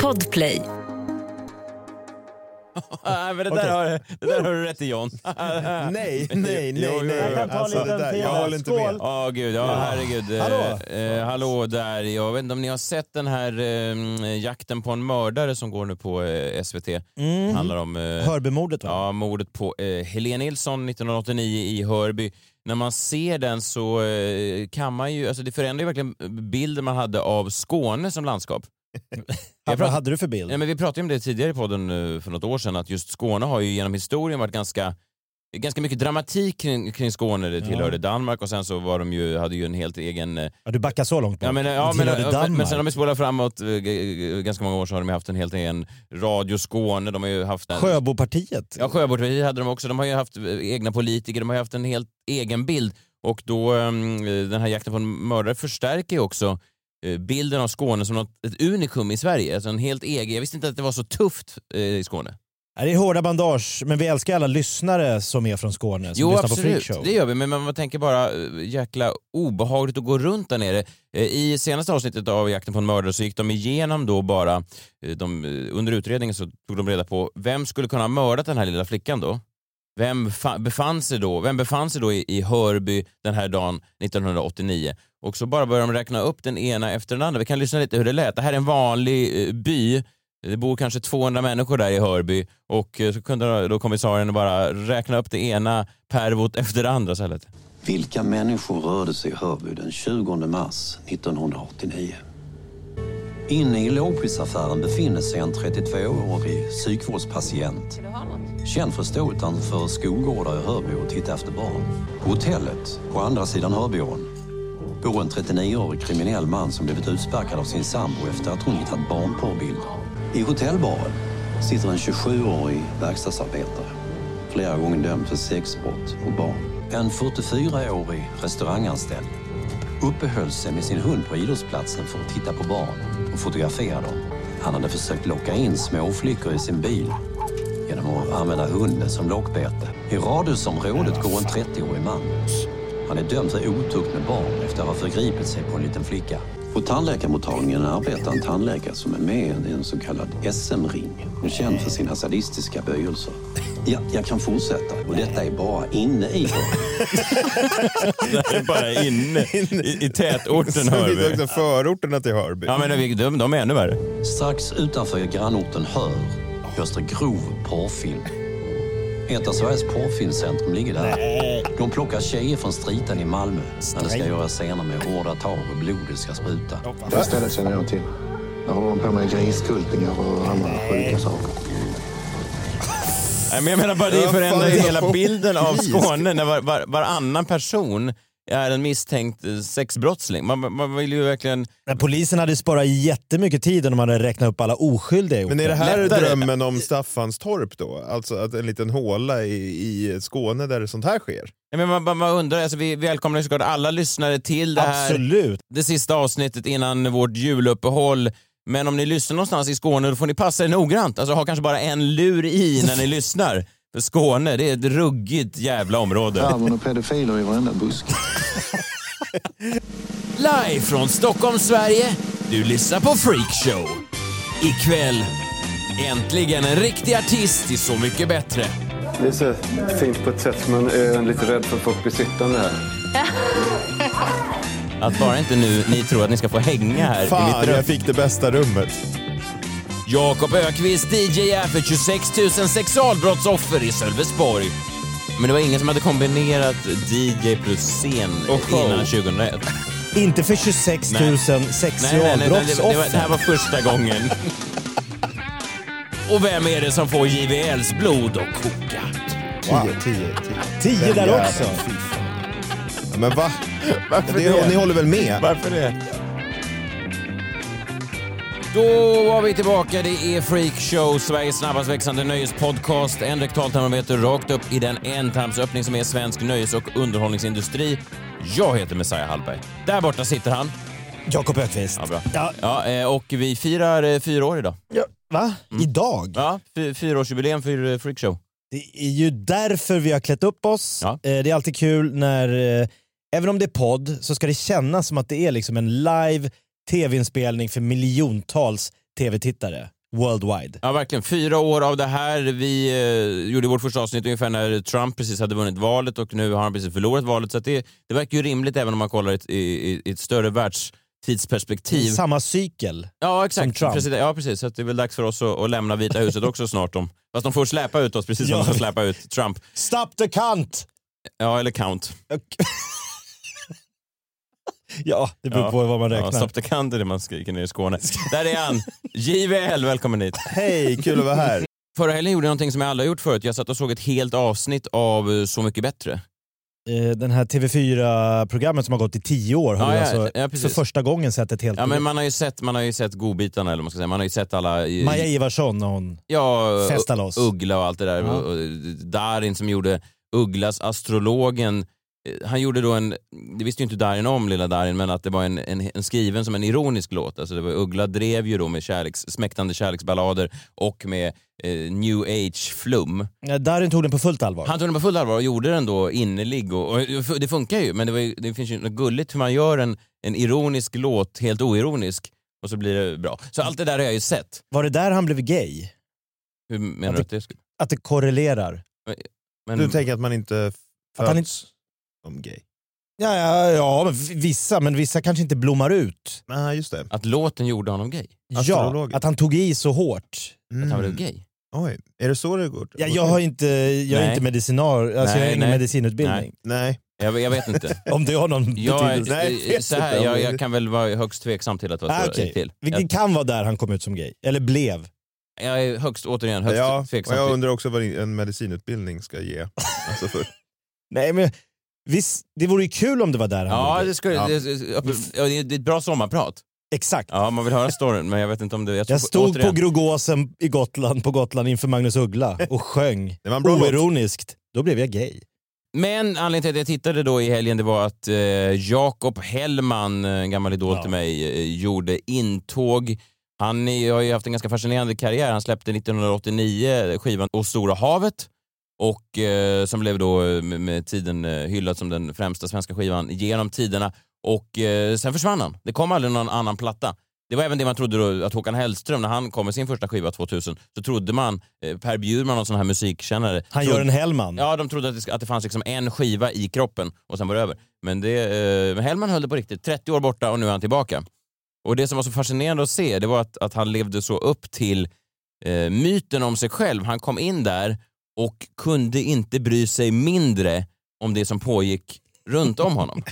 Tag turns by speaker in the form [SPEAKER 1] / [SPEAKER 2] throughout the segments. [SPEAKER 1] Podplay.
[SPEAKER 2] Nej, Ah, men det, där
[SPEAKER 3] Okej.
[SPEAKER 2] har, det där har du rätt i John.
[SPEAKER 3] Nej, nej, nej, nej.
[SPEAKER 4] Jag kan ta
[SPEAKER 3] Alltså,
[SPEAKER 4] lite
[SPEAKER 3] det där,
[SPEAKER 4] till.
[SPEAKER 3] jag håller inte
[SPEAKER 4] Skål.
[SPEAKER 3] med.
[SPEAKER 2] Ja, gud. Ja, herregud. Eh,
[SPEAKER 3] Hallå.
[SPEAKER 2] Eh, hallå där. Jag vet inte om ni har sett den här eh, jakten på en mördare som går nu på eh, SVT.
[SPEAKER 3] Mm.
[SPEAKER 2] handlar om eh,
[SPEAKER 3] Hörbymordet va?
[SPEAKER 2] ja, mordet på eh, Helene Nilsson 1989 i Hörby. När man ser den så eh, kan man ju, alltså det förändrar ju verkligen bilden man hade av Skåne som landskap.
[SPEAKER 3] Vad
[SPEAKER 2] pratar-
[SPEAKER 3] hade du för bild?
[SPEAKER 2] Ja, men vi pratade ju om det tidigare i podden eh, för något år sedan, att just Skåne har ju genom historien varit ganska Ganska mycket dramatik kring, kring Skåne, det tillhörde Danmark och sen så var de ju, hade ju en helt egen... eh,
[SPEAKER 3] Ja, du backar så långt
[SPEAKER 2] Ja,
[SPEAKER 3] bak.
[SPEAKER 2] men, ja,
[SPEAKER 3] Du
[SPEAKER 2] men,
[SPEAKER 3] tillhörde
[SPEAKER 2] men, men
[SPEAKER 3] Danmark.
[SPEAKER 2] sen om vi spolar framåt eh, g- g- ganska många år så har de ju haft en helt egen Radio Skåne, de har ju haft... En,
[SPEAKER 3] Sjöbopartiet.
[SPEAKER 2] Ja, Sjöborgspartiet hade de också. De har ju haft eh, egna politiker, de har ju haft en helt egen bild. Och då, ehm, den här jakten på en mördare förstärker ju också eh, bilden av Skåne som något, ett unikum i Sverige. Alltså en helt egen. Jag visste inte att det var så tufft eh, i Skåne.
[SPEAKER 3] Ja, Det är hårda bandage, men vi älskar alla lyssnare som är från Skåne som
[SPEAKER 2] Jo
[SPEAKER 3] lyssnar Alltså, på
[SPEAKER 2] absolut,
[SPEAKER 3] Freakshow.
[SPEAKER 2] det gör vi. Men man man tänker bara eh, jäkla obehagligt att gå runt där nere. Eh, I senaste avsnittet av Jakten på en mördare så gick de igenom då bara, eh, de, eh, under utredningen så tog de reda på vem skulle kunna ha mördat den här lilla flickan då? Vem fa- befann sig då, vem befann sig då i, i Hörby den här dagen 1989? Och så bara börjar de räkna upp den ena efter den andra. Vi kan lyssna lite hur det lät. Det här är en vanlig eh, by. Det bor kanske 200 människor där i Hörby och eh, så kunde då kommissarien bara räkna upp det ena pervot efter det andra. Så här lät det.
[SPEAKER 5] Vilka människor rörde sig i Hörby den 20 mars 1989? Inne i lågprisaffären befinner sig en 32-årig psykvårdspatient. Känd för att stå utanför skolgårdar i Hörby och titta efter barn. På hotellet, på andra sidan Hörbyån, bor en 39-årig kriminell man som blivit utsparkad av sin sambo efter att hon hittat barnporrbilder. I hotellbaren sitter en 27-årig verkstadsarbetare. Flera gånger dömd för sexbrott och barn. En 44-årig restauranganställd uppehöll sig med sin hund på idrottsplatsen för att titta på barn och fotografera dem. Han hade försökt locka in småflickor i sin bil genom att använda hunden som lockbete. I radhusområdet går en 30-årig man han är dömd för otukt med barn efter att ha förgripit sig på en liten flicka. På tandläkarmottagningen arbetar en tandläkare som är med i en så kallad SM-ring och känd för sina sadistiska böjelser. Ja, jag kan fortsätta. Och detta är bara inne i Hörby.
[SPEAKER 2] Det är bara inne i, i tätorten
[SPEAKER 4] Sen finns det
[SPEAKER 2] Hörby.
[SPEAKER 4] också förorterna till Hörby.
[SPEAKER 2] Ja men de, de, de är ännu värre.
[SPEAKER 5] Strax utanför grannorten Hör görs det grov porrfilm. Ett av Sveriges porrfilmcentrum ligger där. De plockar tjejer från striten i Malmö när det ska göras scener med hårda tag och blodet ska spruta.
[SPEAKER 6] Det stället känner jag till. Där håller de på med griskultingar och andra sjuka saker.
[SPEAKER 2] Nej, men jag menar bara det
[SPEAKER 4] Ja,
[SPEAKER 2] förändrar ju
[SPEAKER 4] fan,
[SPEAKER 2] hela
[SPEAKER 4] jag får
[SPEAKER 2] bilden av
[SPEAKER 4] kris.
[SPEAKER 2] Skåne när var, var, varannan person är en misstänkt eh, sexbrottsling. Man, man vill ju verkligen...
[SPEAKER 3] Men Polisen hade sparat jättemycket tid om man hade räknat upp alla oskyldiga jag
[SPEAKER 4] Men
[SPEAKER 3] gjort.
[SPEAKER 4] är det här
[SPEAKER 2] Lättare.
[SPEAKER 4] drömmen om Staffanstorp då? Alltså att en liten håla i, i Skåne där sånt här sker?
[SPEAKER 2] Nej, men man, man, man undrar, alltså, vi välkomnar ju såklart alla lyssnare till det här
[SPEAKER 3] Absolut.
[SPEAKER 2] det sista avsnittet innan vårt juluppehåll. Men om ni lyssnar någonstans i Skåne då får ni passa er noggrant. Alltså ha kanske bara en lur i när ni lyssnar. För Skåne, det är ett ruggigt jävla område.
[SPEAKER 6] Larven och pedofiler i varenda buske.
[SPEAKER 2] Live från Stockholm, Sverige. Du lyssnar på Freakshow. Ikväll, äntligen en riktig artist i Så Mycket Bättre.
[SPEAKER 7] Det är så fint på ett sätt, men jag är lite rädd för att folk blir sittande här.
[SPEAKER 2] Att bara inte nu ni tror att ni ska få hänga här i mitt
[SPEAKER 4] Fan,
[SPEAKER 2] rum.
[SPEAKER 4] jag fick det bästa rummet.
[SPEAKER 2] Jakob Ökvist DJ är för 26 000 sexualbrottsoffer i Sölvesborg. Men det var ingen som hade kombinerat DJ plus scen
[SPEAKER 4] Och show.
[SPEAKER 2] innan 2001.
[SPEAKER 3] Inte för 26 000
[SPEAKER 2] Nej. det, var- det, var- det här
[SPEAKER 3] sexualbrottsoffer.
[SPEAKER 2] var första gången. och vem är det som får JVLs blod att koka?
[SPEAKER 4] 10, 10, 10.
[SPEAKER 3] 10 där också.
[SPEAKER 4] Men va? Varför det,
[SPEAKER 2] det?
[SPEAKER 4] Ni håller väl med?
[SPEAKER 2] Varför det? Då var vi tillbaka. Det är Freak Show, Sveriges snabbast växande nöjespodcast. En rektaltermometer rakt upp i den ändtarmsöppning som är svensk nöjes och underhållningsindustri. Jag heter Messiah Hallberg. Där borta sitter han.
[SPEAKER 3] Jakob Ökvist.
[SPEAKER 2] Ja, bra.
[SPEAKER 3] Ja,
[SPEAKER 2] Ja, eh, och vi firar eh, fyra år idag.
[SPEAKER 3] va? Idag?
[SPEAKER 2] Mm. Ja, fy- fyraårsjubileum för eh, Freak Show.
[SPEAKER 3] Det är ju därför vi har klätt upp oss.
[SPEAKER 2] Ja.
[SPEAKER 3] Eh, Det är alltid kul när, eh, även om det är podd, så ska det kännas som att det är liksom en live tv-inspelning för miljontals tv-tittare. worldwide.
[SPEAKER 2] Ja, verkligen. Fyra år av det här. Vi eh, gjorde vårt första avsnitt ungefär när Trump precis hade vunnit valet och nu har han precis förlorat valet. Så att det, det verkar ju rimligt även om man kollar i, ett- i, i- i ett större världstidsperspektiv.
[SPEAKER 3] Samma cykel.
[SPEAKER 2] Ja, exakt.
[SPEAKER 3] Som Trump.
[SPEAKER 2] President- ja, precis. Så att det är väl dags för oss att, att lämna Vita huset också snart. Om, fast de får släpa ut oss precis som
[SPEAKER 3] Ja.
[SPEAKER 2] de får släpa ut Trump.
[SPEAKER 3] Stop the cunt!
[SPEAKER 2] Ja, eller count.
[SPEAKER 3] Ja, det beror
[SPEAKER 2] Ja.
[SPEAKER 3] på vad man
[SPEAKER 2] Ja,
[SPEAKER 3] räknar.
[SPEAKER 2] stopp the count är det man skriker ner i Skåne. Där är han! JVL, välkommen hit.
[SPEAKER 4] Hej, kul att vara här.
[SPEAKER 2] Förra helgen gjorde jag någonting som jag aldrig har gjort förut. Jag satt och såg ett helt avsnitt av eh, Så mycket bättre.
[SPEAKER 3] Eh, Den här TV4-programmet som har gått i tio år har
[SPEAKER 2] Ja,
[SPEAKER 3] du
[SPEAKER 2] ja,
[SPEAKER 3] alltså
[SPEAKER 2] ja, precis.
[SPEAKER 3] för första gången sett ett helt
[SPEAKER 2] Ja, men
[SPEAKER 3] program.
[SPEAKER 2] man har ju sett, man har ju sett godbitarna, eller vad man ska säga. Man har ju sett alla... i-
[SPEAKER 3] Maja Ivarsson och hon
[SPEAKER 2] ja, eh,
[SPEAKER 3] festar loss.
[SPEAKER 2] Uggla och allt det där.
[SPEAKER 3] Ja.
[SPEAKER 2] Och- och Darin som gjorde Ugglas Astrologen. eh, Han gjorde då en, det visste ju inte Darin om, lilla Darin, men att det var en, en, en skriven som en ironisk låt. Alltså det var, Uggla drev ju då med kärleks, smäktande kärleksballader och med eh, new age-flum.
[SPEAKER 3] Eh, Darin tog den på fullt allvar.
[SPEAKER 2] Han tog den på full allvar och gjorde den då innerlig och, och det funkar ju men det, var ju, det finns ju något gulligt hur man gör en, en ironisk låt helt oironisk och så blir det bra. Så allt det där har jag ju sett.
[SPEAKER 3] Var det där han blev gay?
[SPEAKER 2] Hur menar
[SPEAKER 3] Att
[SPEAKER 2] du att det skulle...
[SPEAKER 3] Att det korrelerar?
[SPEAKER 2] Men,
[SPEAKER 4] Du tänker att man inte
[SPEAKER 3] Att han inte-
[SPEAKER 4] föds som gay?
[SPEAKER 3] Ja, ja, ja men v- vissa, men vissa kanske inte blommar ut.
[SPEAKER 4] Nej, just det.
[SPEAKER 2] Att låten gjorde honom gay?
[SPEAKER 3] Ja,
[SPEAKER 4] Astrologen.
[SPEAKER 3] att han tog i så hårt.
[SPEAKER 2] Att han
[SPEAKER 4] Mm.
[SPEAKER 2] blev gay?
[SPEAKER 4] Oj, är det så det går?
[SPEAKER 3] Ja, jag har inte, jag är
[SPEAKER 2] Nej.
[SPEAKER 3] inte medicinar, alltså jag har
[SPEAKER 2] Nej,
[SPEAKER 3] ingen
[SPEAKER 2] nej.
[SPEAKER 3] medicinutbildning.
[SPEAKER 4] Nej.
[SPEAKER 2] Jag, jag vet inte.
[SPEAKER 3] Om det har någon
[SPEAKER 2] Jag,
[SPEAKER 3] betydelse.
[SPEAKER 4] Nej,
[SPEAKER 2] eh, så här,
[SPEAKER 4] jag vet
[SPEAKER 2] jag,
[SPEAKER 4] inte.
[SPEAKER 2] jag kan väl vara högst tveksam till att det var
[SPEAKER 3] Ah,
[SPEAKER 2] så det
[SPEAKER 3] okej.
[SPEAKER 2] gick till.
[SPEAKER 3] Vilket
[SPEAKER 2] Jag,
[SPEAKER 3] kan vara där han kom ut som gay, eller blev.
[SPEAKER 2] jag är högst, återigen, högst
[SPEAKER 4] Ja, och
[SPEAKER 2] tveksam.
[SPEAKER 4] jag
[SPEAKER 2] till.
[SPEAKER 4] undrar också vad en medicinutbildning ska ge. Alltså för,
[SPEAKER 3] Nej men visst, det vore ju kul om det var där han
[SPEAKER 2] Ja,
[SPEAKER 3] blev gay.
[SPEAKER 2] det, skulle, det, det, ja, det det är ett bra sommarprat.
[SPEAKER 3] Exakt.
[SPEAKER 2] Ja, man vill höra storyn men jag vet inte om det... tror-
[SPEAKER 3] Jag stod
[SPEAKER 2] återigen-
[SPEAKER 3] på Grogåsen i Gotland, på Gotland inför Magnus Uggla och sjöng
[SPEAKER 4] det var en bra låt.
[SPEAKER 3] oironiskt. Då blev jag gay.
[SPEAKER 2] Men anledningen till att jag tittade då i helgen det var att eh, Jakob Hellman, eh, en gammal idol
[SPEAKER 3] Ja.
[SPEAKER 2] till mig, eh, gjorde intåg. Han är- har ju haft en ganska fascinerande karriär. Han släppte 1989 skivan Och stora havet och eh, som blev då eh, med, med tiden eh, hyllad som den främsta svenska skivan genom tiderna. Och eh, sen försvann han. Det kom aldrig någon annan platta. Det var även det man trodde då, att Håkan Hellström, när han kom med sin första skiva 2000, så trodde man, eh, Per Bjurman, någon sån här musikkännare,
[SPEAKER 3] Han
[SPEAKER 2] trodde-
[SPEAKER 3] gör en Hellman.
[SPEAKER 2] Ja, de trodde att det, sk- att det fanns liksom en skiva i kroppen och sen var det över. Men, det, eh, men Hellman höll det på riktigt. 30 år borta och nu är han tillbaka. Och det som var så fascinerande att se, det var att, att han levde så upp till eh, myten om sig själv. Han kom in där och kunde inte bry sig mindre om det som pågick runt om honom.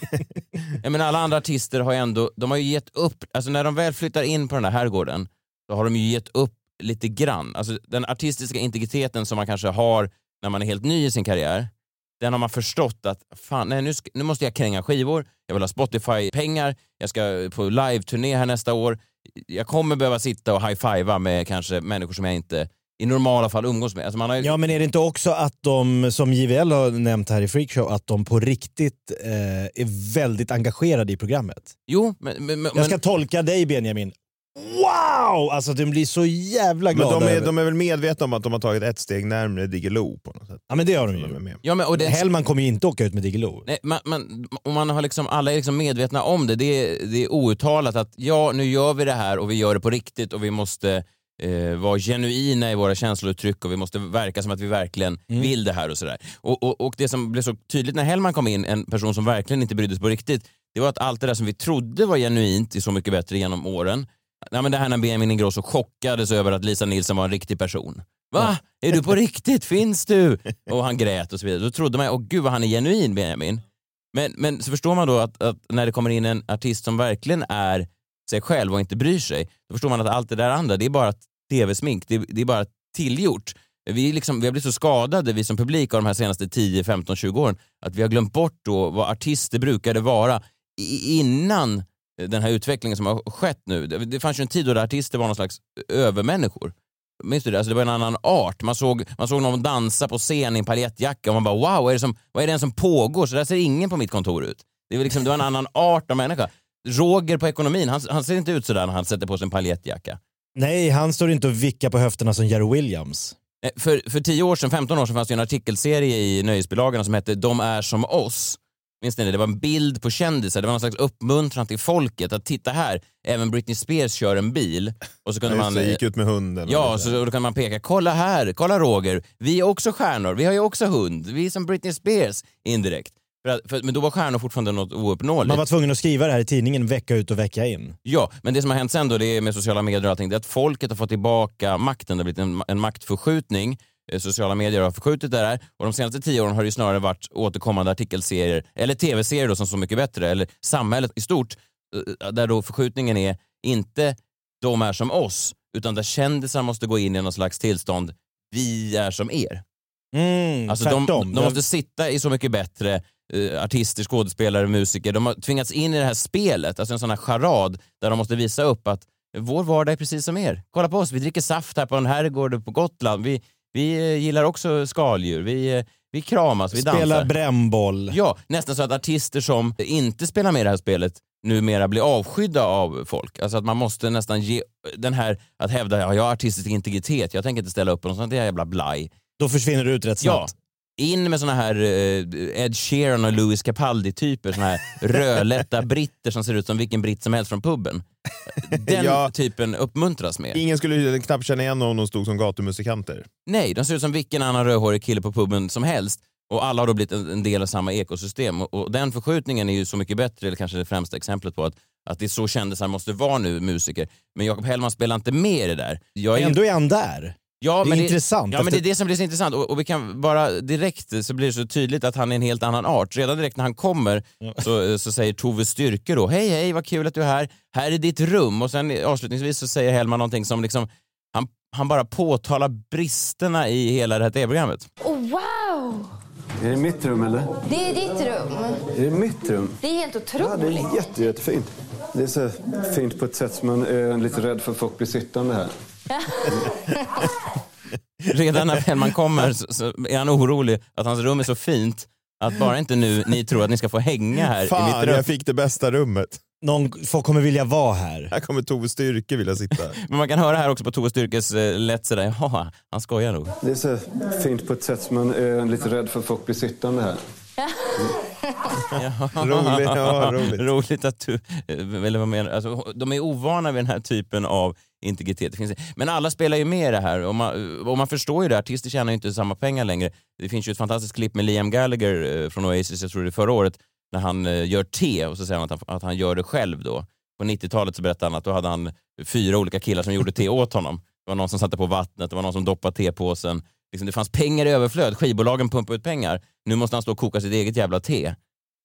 [SPEAKER 2] Jag menar, alla andra artister har ju ändå, de har ju gett upp, alltså när de väl flyttar in på den där herrgården, då har de ju gett upp lite grann. Alltså den artistiska integriteten som man kanske har när man är helt ny i sin karriär, den har man förstått att fan, nej, nu, ska, nu måste jag kränga skivor, jag vill ha Spotify-pengar, jag ska på live-turné här nästa år. Jag kommer behöva sitta och high-fivea med kanske människor som jag inte i normala fall umgås med. Alltså man har ju,
[SPEAKER 3] Ja men är det inte också att de, som JVL har nämnt här i Freakshow, att de på riktigt eh, är väldigt engagerade i programmet?
[SPEAKER 2] Jo, men... men, men
[SPEAKER 3] Jag ska tolka dig Benjamin. Wow! Alltså de blir så jävla
[SPEAKER 4] Men
[SPEAKER 3] glada.
[SPEAKER 4] de är,
[SPEAKER 3] över-
[SPEAKER 4] de är väl medvetna om att de har tagit ett steg närmare Diggiloo på något sätt.
[SPEAKER 3] Ja men det har de
[SPEAKER 4] De är
[SPEAKER 3] ju.
[SPEAKER 4] med.
[SPEAKER 2] ja, men, och det,
[SPEAKER 3] Hellman kommer ju inte åka ut med Diggiloo.
[SPEAKER 2] Nej, man, man, och man har liksom, alla är liksom medvetna om det. Det är, det är outtalat att ja, nu gör vi det här och vi gör det på riktigt och vi måste eh, vara genuina i våra känslouttryck och vi måste verka som att vi verkligen vill det här och sådär. Och, och, och det som blev så tydligt när Hellman kom in, en person som verkligen inte brydde sig på riktigt, det var att allt det där som vi trodde var genuint i Så mycket bättre genom åren, Nej, men det här när Benjamin Ingrosso chockades över att Lisa Nilsson var en riktig person. Va? Är du på riktigt? Finns du? Och han grät och så vidare. Då trodde man, åh gud vad han är genuin Benjamin. Men, men så förstår man då att, att när det kommer in en artist som verkligen är sig själv och inte bryr sig, då förstår man att allt det där andra, det är bara tv-smink, det, det är bara tillgjort. Vi, är liksom, vi har blivit så skadade, vi som publik, av de här senaste 10, 15, 20 åren, att vi har glömt bort då vad artister brukade vara i, innan den här utvecklingen som har skett nu. Det, det fanns ju en tid då där artister var någon slags övermänniskor. Minns du det? Alltså det var en annan art. Man såg, man såg någon dansa på scen i en paljettjacka och man bara wow, vad är, det som, vad är det ens som pågår? Så där ser ingen på mitt kontor ut. Det var, liksom, det var en annan art av människa. Roger på ekonomin, han, han ser inte ut sådär när han sätter på sig en paljettjacka.
[SPEAKER 3] Nej, han står inte och vickar på höfterna som Jerry Williams.
[SPEAKER 2] Eh, För, för 10 år sedan, 15 år sedan fanns det ju en artikelserie i nöjesbilagorna som hette De är som oss. Minns ni det? Det var en bild på kändisar. Det var någon slags uppmuntran till folket att titta här, även Britney Spears kör en bil. Och så kunde
[SPEAKER 4] Ja,
[SPEAKER 2] man...
[SPEAKER 4] just det,
[SPEAKER 2] eh,
[SPEAKER 4] gick ut med hunden.
[SPEAKER 2] Ja,
[SPEAKER 4] och
[SPEAKER 2] så, och då kan man peka. Kolla här, kolla Roger. Vi är också stjärnor. Vi har ju också hund. Vi är som Britney Spears, indirekt. För att, för, men då var stjärnor fortfarande något ouppnåeligt.
[SPEAKER 3] Man var tvungen att skriva det här i tidningen vecka ut och vecka in.
[SPEAKER 2] Ja, men det som har hänt sen då, det är med sociala medier och allting, det är att folket har fått tillbaka makten. Det har blivit en, en maktförskjutning. Eh, Sociala medier har förskjutit det här och de senaste tio åren har det ju snarare varit återkommande artikelserier eller tv-serier då som Så mycket bättre eller samhället i stort eh, där då förskjutningen är inte de är som oss utan där kändisar måste gå in i någon slags tillstånd vi är som er.
[SPEAKER 3] Mm,
[SPEAKER 2] Alltså de,
[SPEAKER 3] tvärtom.
[SPEAKER 2] de måste sitta i Så mycket bättre, eh, artister, skådespelare, musiker. De har tvingats in i det här spelet, alltså en sån här charad där de måste visa upp att vår vardag är precis som er. Kolla på oss, vi dricker saft här på en herrgård på Gotland. Vi, vi eh, gillar också skaldjur. Vi, eh, vi kramas, vi
[SPEAKER 3] Spela
[SPEAKER 2] dansar.
[SPEAKER 3] brännboll.
[SPEAKER 2] Ja, nästan så att artister som inte spelar med i det här spelet numera blir avskydda av folk. Alltså att man måste nästan ge den här, att hävda ja, jag har artistisk integritet, jag tänker inte ställa upp på något sånt där jävla blaj.
[SPEAKER 3] Då försvinner du ut rätt
[SPEAKER 2] Ja.
[SPEAKER 3] snabbt.
[SPEAKER 2] In med såna här eh, Ed Sheeran och Louis Capaldi-typer, såna här rödlätta britter som ser ut som vilken britt som helst från puben. Den
[SPEAKER 4] Ja.
[SPEAKER 2] typen uppmuntras mer.
[SPEAKER 4] Ingen skulle ju knappt känna igen någon om de stod som gatumusikanter.
[SPEAKER 2] Nej, de ser ut som vilken annan rödhårig kille på puben som helst och alla har då blivit en, en del av samma ekosystem. Och, och den förskjutningen är ju Så mycket bättre, eller kanske det främsta exemplet på att, att det är så kändisar måste vara nu, musiker. Men Jakob Hellman spelar inte med i det där. Jag är ju-
[SPEAKER 3] Ändå är han där.
[SPEAKER 2] Ja,
[SPEAKER 3] Det är intressant.
[SPEAKER 2] Ja, men det
[SPEAKER 3] Efter-
[SPEAKER 2] är det som blir så intressant. Och, och vi kan bara direkt så blir det så tydligt att han är en helt annan art. Redan direkt när han kommer så, så säger Tove Styrke då, hej hej vad kul att du är här, här är ditt rum. Och sen avslutningsvis så säger Hellman någonting som liksom, han, han bara påtalar bristerna i hela det här tv-programmet.
[SPEAKER 1] Oh, wow!
[SPEAKER 7] Är det mitt rum eller?
[SPEAKER 1] Det är ditt rum.
[SPEAKER 7] Är det mitt rum?
[SPEAKER 1] Det är helt
[SPEAKER 7] Ja, det
[SPEAKER 1] otroligt.
[SPEAKER 7] är jätte, jättefint. Det är så fint på ett sätt som man är lite rädd för att folk blir sittande här.
[SPEAKER 2] Redan när Hellman kommer så, så är han orolig att hans rum är så fint att bara inte nu ni tror att ni ska få hänga här i
[SPEAKER 4] Fan,
[SPEAKER 2] mitt rum.
[SPEAKER 4] jag fick det bästa rummet.
[SPEAKER 3] Någon, folk kommer vilja vara här.
[SPEAKER 4] Här kommer Tove Styrke vilja sitta.
[SPEAKER 2] Men man kan höra här också på Tove Styrkes eh, lätt sådär, jaha, han skojar nog.
[SPEAKER 7] Det är så fint på ett sätt som man är lite rädd för att folk blir sittande här.
[SPEAKER 4] Roligt, ja, roligt.
[SPEAKER 2] att du... Eller vad menar, alltså, de är ovana vid den här typen av integritet. Det finns, men alla spelar ju med i det här och man, och man förstår ju det. Artister tjänar ju inte samma pengar längre. Det finns ju ett fantastiskt klipp med Liam Gallagher eh, från Oasis, jag tror det är förra året, när han eh, gör te och så säger han att han, att han gör det själv då. På 90-talet så berättade han att då hade han fyra olika killar som gjorde te åt honom. Det var någon som satte på vattnet, det var någon som doppade tepåsen. Liksom, det fanns pengar i överflöd, skivbolagen pumpade ut pengar. Nu måste han stå och koka sitt eget jävla te.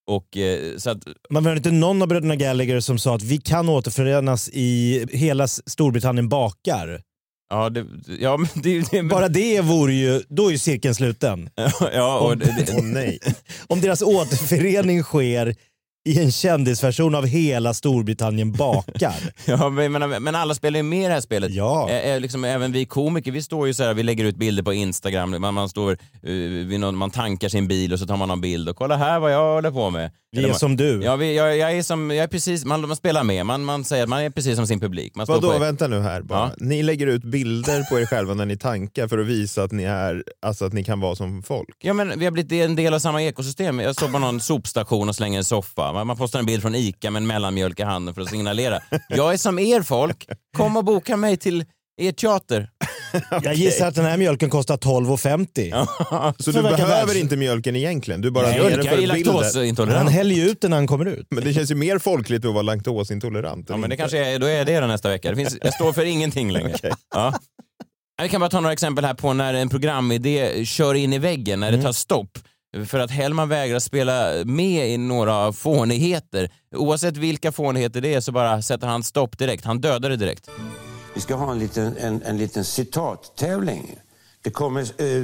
[SPEAKER 2] Och, eh, så att
[SPEAKER 3] Man var inte någon av bröderna Gallagher som sa att vi kan återförenas i hela S- Storbritannien bakar.
[SPEAKER 2] Ja, det, ja men det, är ju- det,
[SPEAKER 3] Bara det vore ju, då är ju cirkeln sluten.
[SPEAKER 2] ja, och det, det,
[SPEAKER 4] Åh nej.
[SPEAKER 3] Om deras återförening sker i en kändisversion av hela Storbritannien bakar.
[SPEAKER 2] ja, men, jag menar, men alla spelar ju med i det här spelet.
[SPEAKER 3] Ja.
[SPEAKER 2] Ä, ä, liksom, även vi komiker, vi står ju så här, vi lägger ut bilder på Instagram, man, man, står, eh, vid någon, man tankar sin bil och så tar man någon bild och kolla här vad jag håller på med.
[SPEAKER 3] Vi är
[SPEAKER 2] man,
[SPEAKER 3] som du.
[SPEAKER 2] Ja, vi, jag, jag är som, jag är precis, man, man spelar med, man, man säger att man är precis som sin publik. Man står
[SPEAKER 4] Vadå,
[SPEAKER 2] på-
[SPEAKER 4] vänta nu här bara.
[SPEAKER 2] Ja.
[SPEAKER 4] Ni lägger ut bilder på er själva när ni tankar för att visa att ni, är, alltså att ni kan vara som folk.
[SPEAKER 2] Ja, men vi har blivit en del av samma ekosystem. Jag står på någon sopstation och slänger en soffa. Man man postar en bild från ICA med en mellanmjölk i handen för att signalera. Jag är som er folk. Kom och boka mig till er teater.
[SPEAKER 3] Jag gissar att den här mjölken kostar 12,50.
[SPEAKER 4] Så
[SPEAKER 3] Så
[SPEAKER 4] du
[SPEAKER 3] verkar
[SPEAKER 4] behöver
[SPEAKER 3] världs-
[SPEAKER 4] inte mjölken egentligen, du bara
[SPEAKER 2] Nej,
[SPEAKER 4] ger den
[SPEAKER 2] Mjölk är
[SPEAKER 4] för
[SPEAKER 2] ju
[SPEAKER 4] bilden.
[SPEAKER 3] Han
[SPEAKER 2] laktosintolerant.
[SPEAKER 3] häller ju ut den när han kommer ut.
[SPEAKER 4] Men det känns ju mer folkligt att vara laktosintolerant.
[SPEAKER 2] Ja,
[SPEAKER 4] än
[SPEAKER 2] men det
[SPEAKER 4] inte.
[SPEAKER 2] kanske är, då är det då nästa vecka. Det finns, jag står för ingenting längre. Ja. Vi kan bara ta några exempel här på när en programidé kör in i väggen, när
[SPEAKER 4] Mm.
[SPEAKER 2] det tar stopp. För att Hellman vägrar spela med i några fånigheter. Oavsett vilka fånigheter det är så bara sätter han stopp direkt. Han dödar det direkt.
[SPEAKER 8] Vi ska ha en liten, en, en liten citattävling. Det kommer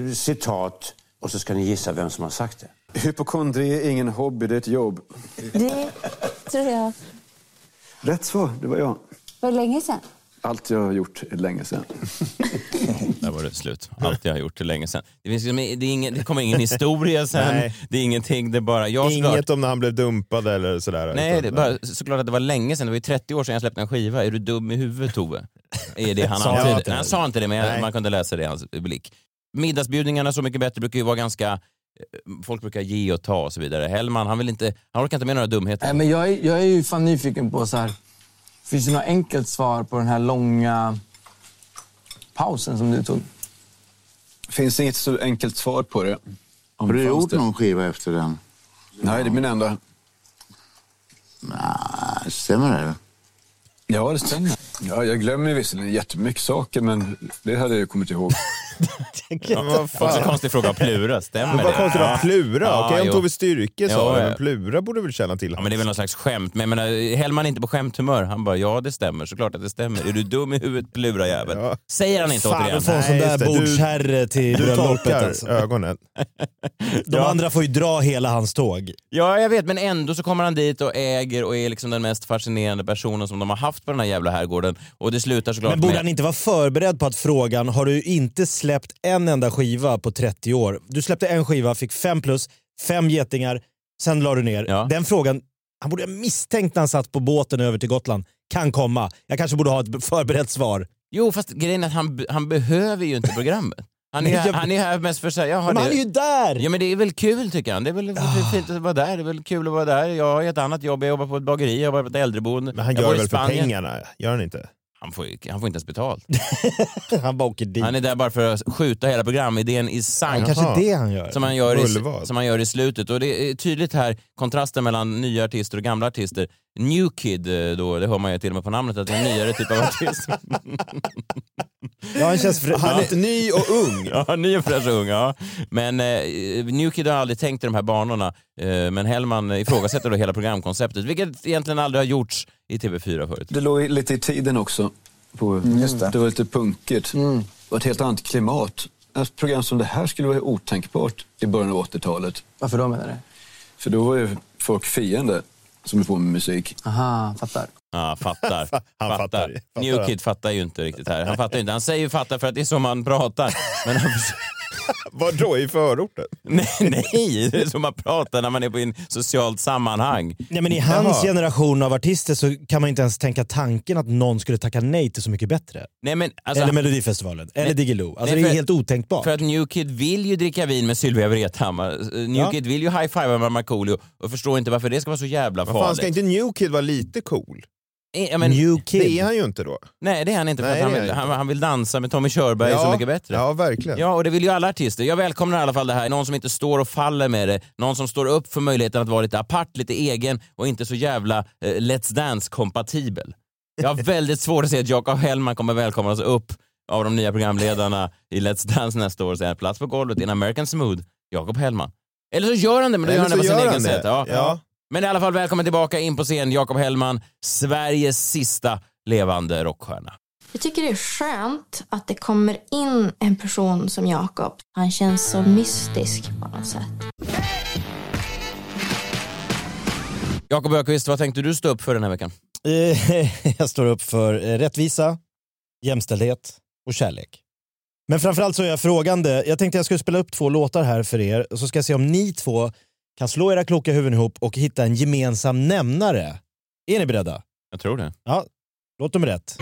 [SPEAKER 8] eh, citat och så ska ni gissa vem som har sagt det.
[SPEAKER 7] Hypokondri är ingen hobby, det är ett jobb.
[SPEAKER 9] Det tror jag
[SPEAKER 7] Rätt svar, det var jag.
[SPEAKER 9] var länge sedan.
[SPEAKER 7] Allt jag har gjort är länge sedan.
[SPEAKER 2] Där var det slut. Allt jag har gjort är länge sedan. Det, finns, liksom- det, är ingen, det kommer ingen historia sen.
[SPEAKER 4] Nej.
[SPEAKER 2] det är ingenting. Det är bara jag såklart.
[SPEAKER 4] Inget om när han blev dumpad eller sådär.
[SPEAKER 2] Nej,
[SPEAKER 4] utan-
[SPEAKER 2] det är bara, såklart att det var länge sedan. Det var ju 30 år sedan jag släppte en skiva. Är du dum i huvudet Tove? Är det han
[SPEAKER 3] Sa han
[SPEAKER 2] antyder.
[SPEAKER 3] inte det?
[SPEAKER 2] Nej, han sa inte det, men jag,
[SPEAKER 4] Nej.
[SPEAKER 2] man kunde läsa det i hans blick. Middagsbjudningarna Så mycket bättre brukar ju vara ganska eh, folk brukar ge och ta och så vidare. Hellman, han, vill inte, han orkar inte med några dumheter.
[SPEAKER 10] Nej, men jag, är, jag är ju fan nyfiken på så här. Finns det något enkelt svar på den här långa pausen som du tog?
[SPEAKER 7] Finns inget så enkelt svar på det. Om
[SPEAKER 11] Har du
[SPEAKER 7] det fanns
[SPEAKER 11] gjort
[SPEAKER 7] det.
[SPEAKER 11] någon skiva efter den?
[SPEAKER 7] Nej, det är min enda.
[SPEAKER 11] Nej, stämmer det?
[SPEAKER 7] Ja, det stämmer. Ja, jag glömmer visserligen jättemycket saker, men det hade jag ju kommit ihåg.
[SPEAKER 2] Ja, men vad fan. Också konstig fråga av Plura, stämmer
[SPEAKER 4] Men vad konstigt att Plura,
[SPEAKER 2] Ja,
[SPEAKER 4] okej om
[SPEAKER 2] jo.
[SPEAKER 4] Tove Styrke sa
[SPEAKER 2] Ja,
[SPEAKER 4] det,
[SPEAKER 2] ja.
[SPEAKER 4] men Plura borde väl känna till
[SPEAKER 2] Ja, men det är väl någon slags skämt. Men jag menar, Hellman är inte på skämthumör. Han bara, ja det stämmer, såklart att det stämmer. Är du dum i huvudet plura jävel? Säger han inte
[SPEAKER 3] Fan
[SPEAKER 2] återigen.
[SPEAKER 3] att få en sån
[SPEAKER 4] Nej,
[SPEAKER 3] där
[SPEAKER 4] just det. Du-
[SPEAKER 3] bordsherre till
[SPEAKER 4] Du
[SPEAKER 3] bröllopet
[SPEAKER 4] torkar
[SPEAKER 3] alltså.
[SPEAKER 4] ögonen.
[SPEAKER 3] De andra får ju dra hela hans tåg.
[SPEAKER 2] Ja, jag vet, men ändå så kommer han dit och äger och är liksom den mest fascinerande personen som de har haft på den här jävla herrgården. Och det slutar såklart
[SPEAKER 3] Men borde
[SPEAKER 2] med...
[SPEAKER 3] han inte vara förberedd på att frågan, har du inte släppt en enda skiva på 30 år? Du släppte en skiva, fick fem plus, fem getingar, sen la du ner.
[SPEAKER 2] Ja.
[SPEAKER 3] Den frågan, han borde ha misstänkt när han satt på båten över till Gotland, kan komma. Jag kanske borde ha ett förberett svar.
[SPEAKER 2] Jo, fast grejen är att han, han behöver ju inte programmet. Han är,
[SPEAKER 3] Nej, jag-
[SPEAKER 2] han är här mest för att säga, jaha,
[SPEAKER 3] Men
[SPEAKER 2] det...
[SPEAKER 3] han är ju Ah. där!
[SPEAKER 2] Ja men det är väl kul tycker han. Det är väl fint att vara där. Det är väl kul att vara där. Jag har ett annat jobb. Jag jobbar på ett bageri, jag jobbar på ett äldreboende.
[SPEAKER 4] Men han
[SPEAKER 2] jag
[SPEAKER 4] gör
[SPEAKER 2] bor i
[SPEAKER 4] väl för
[SPEAKER 2] Spanien.
[SPEAKER 4] pengarna, gör han inte?
[SPEAKER 2] Han får, ju- han får inte ens betalt.
[SPEAKER 3] Han bara åker dit.
[SPEAKER 2] Han är där bara för att skjuta hela programidén i sank.
[SPEAKER 3] Kanske det han gör.
[SPEAKER 2] Som han, gör i,
[SPEAKER 4] Mullvad.
[SPEAKER 2] som han gör i slutet. Och det är tydligt här, kontrasten mellan nya artister och gamla artister. New Kid, eh, då, det hör man ju till och med på namnet, att det är en nyare typ av artist.
[SPEAKER 3] Ja, han känns fri-
[SPEAKER 4] Han är ny och ung.
[SPEAKER 2] ja, ny och fräsch och ung, ja. Men eh, New Kid har aldrig tänkt i de här banorna. Eh, men Hellman ifrågasätter då hela programkonceptet, vilket egentligen aldrig har gjorts i TV4 förut.
[SPEAKER 7] Det låg lite i tiden också. På,
[SPEAKER 10] Mm,
[SPEAKER 11] just det.
[SPEAKER 7] var lite punkigt. Det var ett helt annat klimat. Ett program som det här skulle vara otänkbart i början av 80-talet.
[SPEAKER 10] Varför då menar du?
[SPEAKER 7] För då var ju folk fiende som höll på med musik.
[SPEAKER 10] Aha, fattar.
[SPEAKER 2] Ja, fattar.
[SPEAKER 4] han fattar ju. Fattar
[SPEAKER 2] New
[SPEAKER 4] han.
[SPEAKER 2] Kid fattar ju inte riktigt här. Han fattar ju inte. Han säger ju fattar för att det är som han pratar. Men han försöker...
[SPEAKER 4] Vadå, i förorten?
[SPEAKER 2] Nej, nej, det är som man pratar när man är på en socialt sammanhang.
[SPEAKER 3] Nej, men I hans
[SPEAKER 4] Jaha.
[SPEAKER 3] generation av artister så kan man ju inte ens tänka tanken att någon skulle tacka nej till Så mycket bättre.
[SPEAKER 2] Nej, men alltså,
[SPEAKER 3] eller Melodifestivalen, eller Diggiloo. Alltså
[SPEAKER 2] nej,
[SPEAKER 3] det är
[SPEAKER 2] för-
[SPEAKER 3] helt otänkbart.
[SPEAKER 2] för att New Kid vill ju dricka vin med Sylvia Vrethammar. Eh, New Kid vill ju high-fiva med Markoolio och förstår inte varför det ska vara så jävla
[SPEAKER 4] Vad fan,
[SPEAKER 2] farligt.
[SPEAKER 4] ska inte New Kid vara lite cool?
[SPEAKER 2] Eh, ja, men,
[SPEAKER 3] New Kid.
[SPEAKER 4] Det är han ju inte då.
[SPEAKER 2] Nej, det är han inte. För
[SPEAKER 4] Nej,
[SPEAKER 2] att han,
[SPEAKER 4] det är
[SPEAKER 2] vill,
[SPEAKER 4] han
[SPEAKER 2] han,
[SPEAKER 4] inte.
[SPEAKER 2] han vill dansa med Tommy Körberg Så Mycket Bättre.
[SPEAKER 4] Ja, verkligen.
[SPEAKER 2] Ja, och det vill ju alla artister. Jag välkomnar i alla fall det här. Någon som inte står och faller med det. Någon som står upp för möjligheten att vara lite apart, lite egen och inte så jävla eh, Let's Dance-kompatibel. Jag har väldigt svårt att se att Jakob Hellman kommer välkomnas upp av de nya programledarna i Let's Dance nästa år och säga plats på golvet, in American Smooth, Jakob Hellman. Eller så gör han det, men då
[SPEAKER 4] Eller
[SPEAKER 2] gör han det
[SPEAKER 4] så
[SPEAKER 2] på sin
[SPEAKER 4] gör
[SPEAKER 2] egen
[SPEAKER 4] han det.
[SPEAKER 2] sätt. Ja.
[SPEAKER 4] Ja.
[SPEAKER 2] Men i alla fall, välkommen tillbaka in på scen, Jakob Hellman, Sveriges sista levande rockstjärna.
[SPEAKER 1] Jag tycker det är skönt att det kommer in en person som Jakob. Han känns så mystisk på något sätt.
[SPEAKER 2] Jakob Ökvist, vad tänkte du stå upp för den här veckan?
[SPEAKER 3] Eh, jag står upp för eh, rättvisa, jämställdhet och kärlek. Men framförallt så är jag frågande. Jag tänkte jag skulle spela upp två låtar här för er och så ska jag se om ni två kan slå era kloka huvuden ihop och hitta en gemensam nämnare. Är ni beredda?
[SPEAKER 2] Jag tror det.
[SPEAKER 3] Ja, låt nummer ett.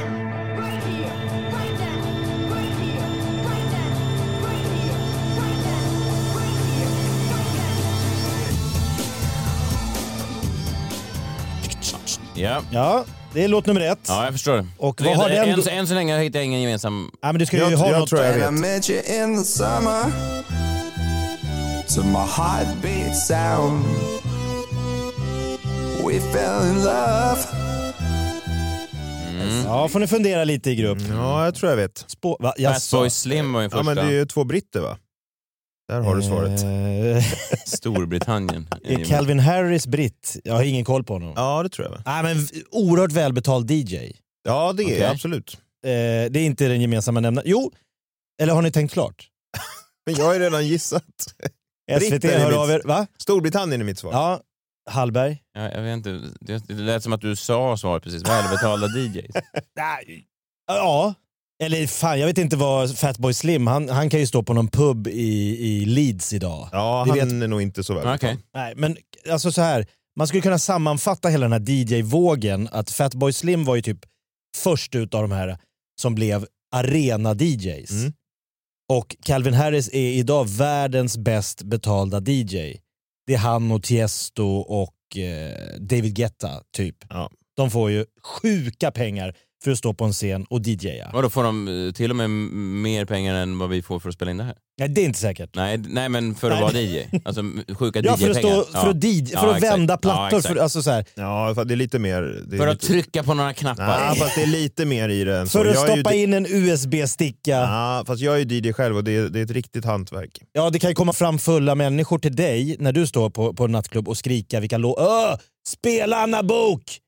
[SPEAKER 2] Ja.
[SPEAKER 3] Ja, det är låt nummer ett.
[SPEAKER 2] Ja, jag förstår. det.
[SPEAKER 3] Och
[SPEAKER 2] Det-
[SPEAKER 3] vad har den...
[SPEAKER 2] än, så- än så länge hittar jag ingen gemensam...
[SPEAKER 3] Ja, men du ska ju
[SPEAKER 4] Jag,
[SPEAKER 3] ha
[SPEAKER 4] jag
[SPEAKER 3] något...
[SPEAKER 4] tror jag vet.
[SPEAKER 10] met you in the summer To my heartbeat sound We fell in love
[SPEAKER 3] Ja, får ni fundera lite i grupp.
[SPEAKER 4] Ja, jag tror jag vet.
[SPEAKER 3] Spå... Va?
[SPEAKER 2] Fast
[SPEAKER 3] Jaså?
[SPEAKER 2] Boy Slim var ju
[SPEAKER 4] Ja,
[SPEAKER 2] första.
[SPEAKER 4] men det är ju två britter va? Där har du svaret.
[SPEAKER 3] Eh,
[SPEAKER 2] Storbritannien.
[SPEAKER 3] Är Calvin Harris britt? Jag har ingen koll på honom.
[SPEAKER 4] Ja, det tror jag. va?
[SPEAKER 3] Nej, men v- oerhört välbetald DJ. Eh,
[SPEAKER 4] Ja, det är
[SPEAKER 2] Okej.
[SPEAKER 4] absolut.
[SPEAKER 3] det är inte den gemensamma nämnaren. Jo, eller har ni tänkt klart?
[SPEAKER 4] Men jag har ju redan gissat.
[SPEAKER 3] SVT
[SPEAKER 4] är mitt-
[SPEAKER 3] hör av er. Va?
[SPEAKER 4] Storbritannien är mitt svar.
[SPEAKER 3] Ja, Hallberg.
[SPEAKER 2] Ja, jag vet inte, det, det lät som att du sa svaret precis. Välbetalda DJs.
[SPEAKER 3] Nej. Ja. Eller fan, jag vet inte vad Fatboy Slim, han, han kan ju stå på någon pub i, i Leeds idag.
[SPEAKER 4] Ja,
[SPEAKER 3] Vi
[SPEAKER 4] han
[SPEAKER 3] vet-
[SPEAKER 4] är nog inte så väl.
[SPEAKER 2] Okej.
[SPEAKER 3] Nej, men alltså så här. Man skulle kunna sammanfatta hela den här DJ-vågen att Fatboy Slim var ju typ först ut av de här som blev arena-DJs.
[SPEAKER 4] Mm.
[SPEAKER 3] Och Calvin Harris är idag världens bäst betalda DJ. Det är han och Tiesto och eh, David Guetta, typ. De får ju sjuka pengar för att stå på en scen och DJa.
[SPEAKER 2] Vadå, får de eh, till och med m- mer pengar än vad vi får för att spela in det här?
[SPEAKER 3] Nej, det är inte säkert.
[SPEAKER 2] Nej, d- nej men för att
[SPEAKER 3] Nej,
[SPEAKER 2] vara
[SPEAKER 3] men-
[SPEAKER 2] DJ. Alltså m- sjuka
[SPEAKER 3] Ja, för att,
[SPEAKER 2] DJ-pengar.
[SPEAKER 3] stå, för att, DJ, för att vända plattor. för, alltså så här,
[SPEAKER 4] Ja, för det är lite mer... Det är
[SPEAKER 2] För att
[SPEAKER 4] lite...
[SPEAKER 2] trycka på några knappar.
[SPEAKER 4] Nej, fast det är lite mer i det än så.
[SPEAKER 3] typ- för att
[SPEAKER 4] Jag är ju
[SPEAKER 3] stoppa
[SPEAKER 4] di-
[SPEAKER 3] in en USB-sticka.
[SPEAKER 4] Ja, fast jag är ju DJ själv och det är, det är ett riktigt hantverk.
[SPEAKER 3] Ja, det kan ju komma fram fulla människor till dig när du står på, på en nattklubb och skrika vilka låt... Öh! Spela Anna Bok!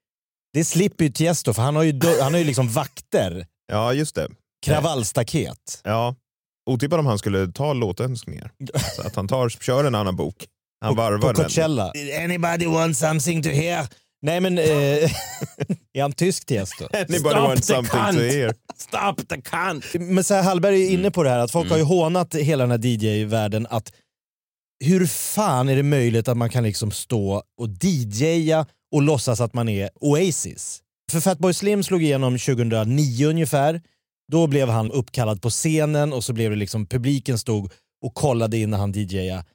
[SPEAKER 3] Det slipper ju Tiesto för han har ju, dör- han har ju liksom vakter.
[SPEAKER 4] Ja, just det.
[SPEAKER 3] Kravallstaket.
[SPEAKER 4] Ja. Otippat om han skulle ta låtönskningar. Så att han tar, kör en annan bok. Han varvar
[SPEAKER 3] På Coachella. Did anybody want something to hear? Nej men... Eh, är han tysk Tiesto?
[SPEAKER 4] Anybody want something to hear?
[SPEAKER 2] Stop the cunt!
[SPEAKER 3] Men så här, Hallberg är inne på det här att folk har ju hånat hela den här DJ-världen att hur fan är det möjligt att man kan liksom stå och DJa och låtsas att man är Oasis? För Fatboy Slim slog igenom 2009 ungefär. Då blev han uppkallad på scenen och så blev det liksom publiken stod och kollade in när han DJa.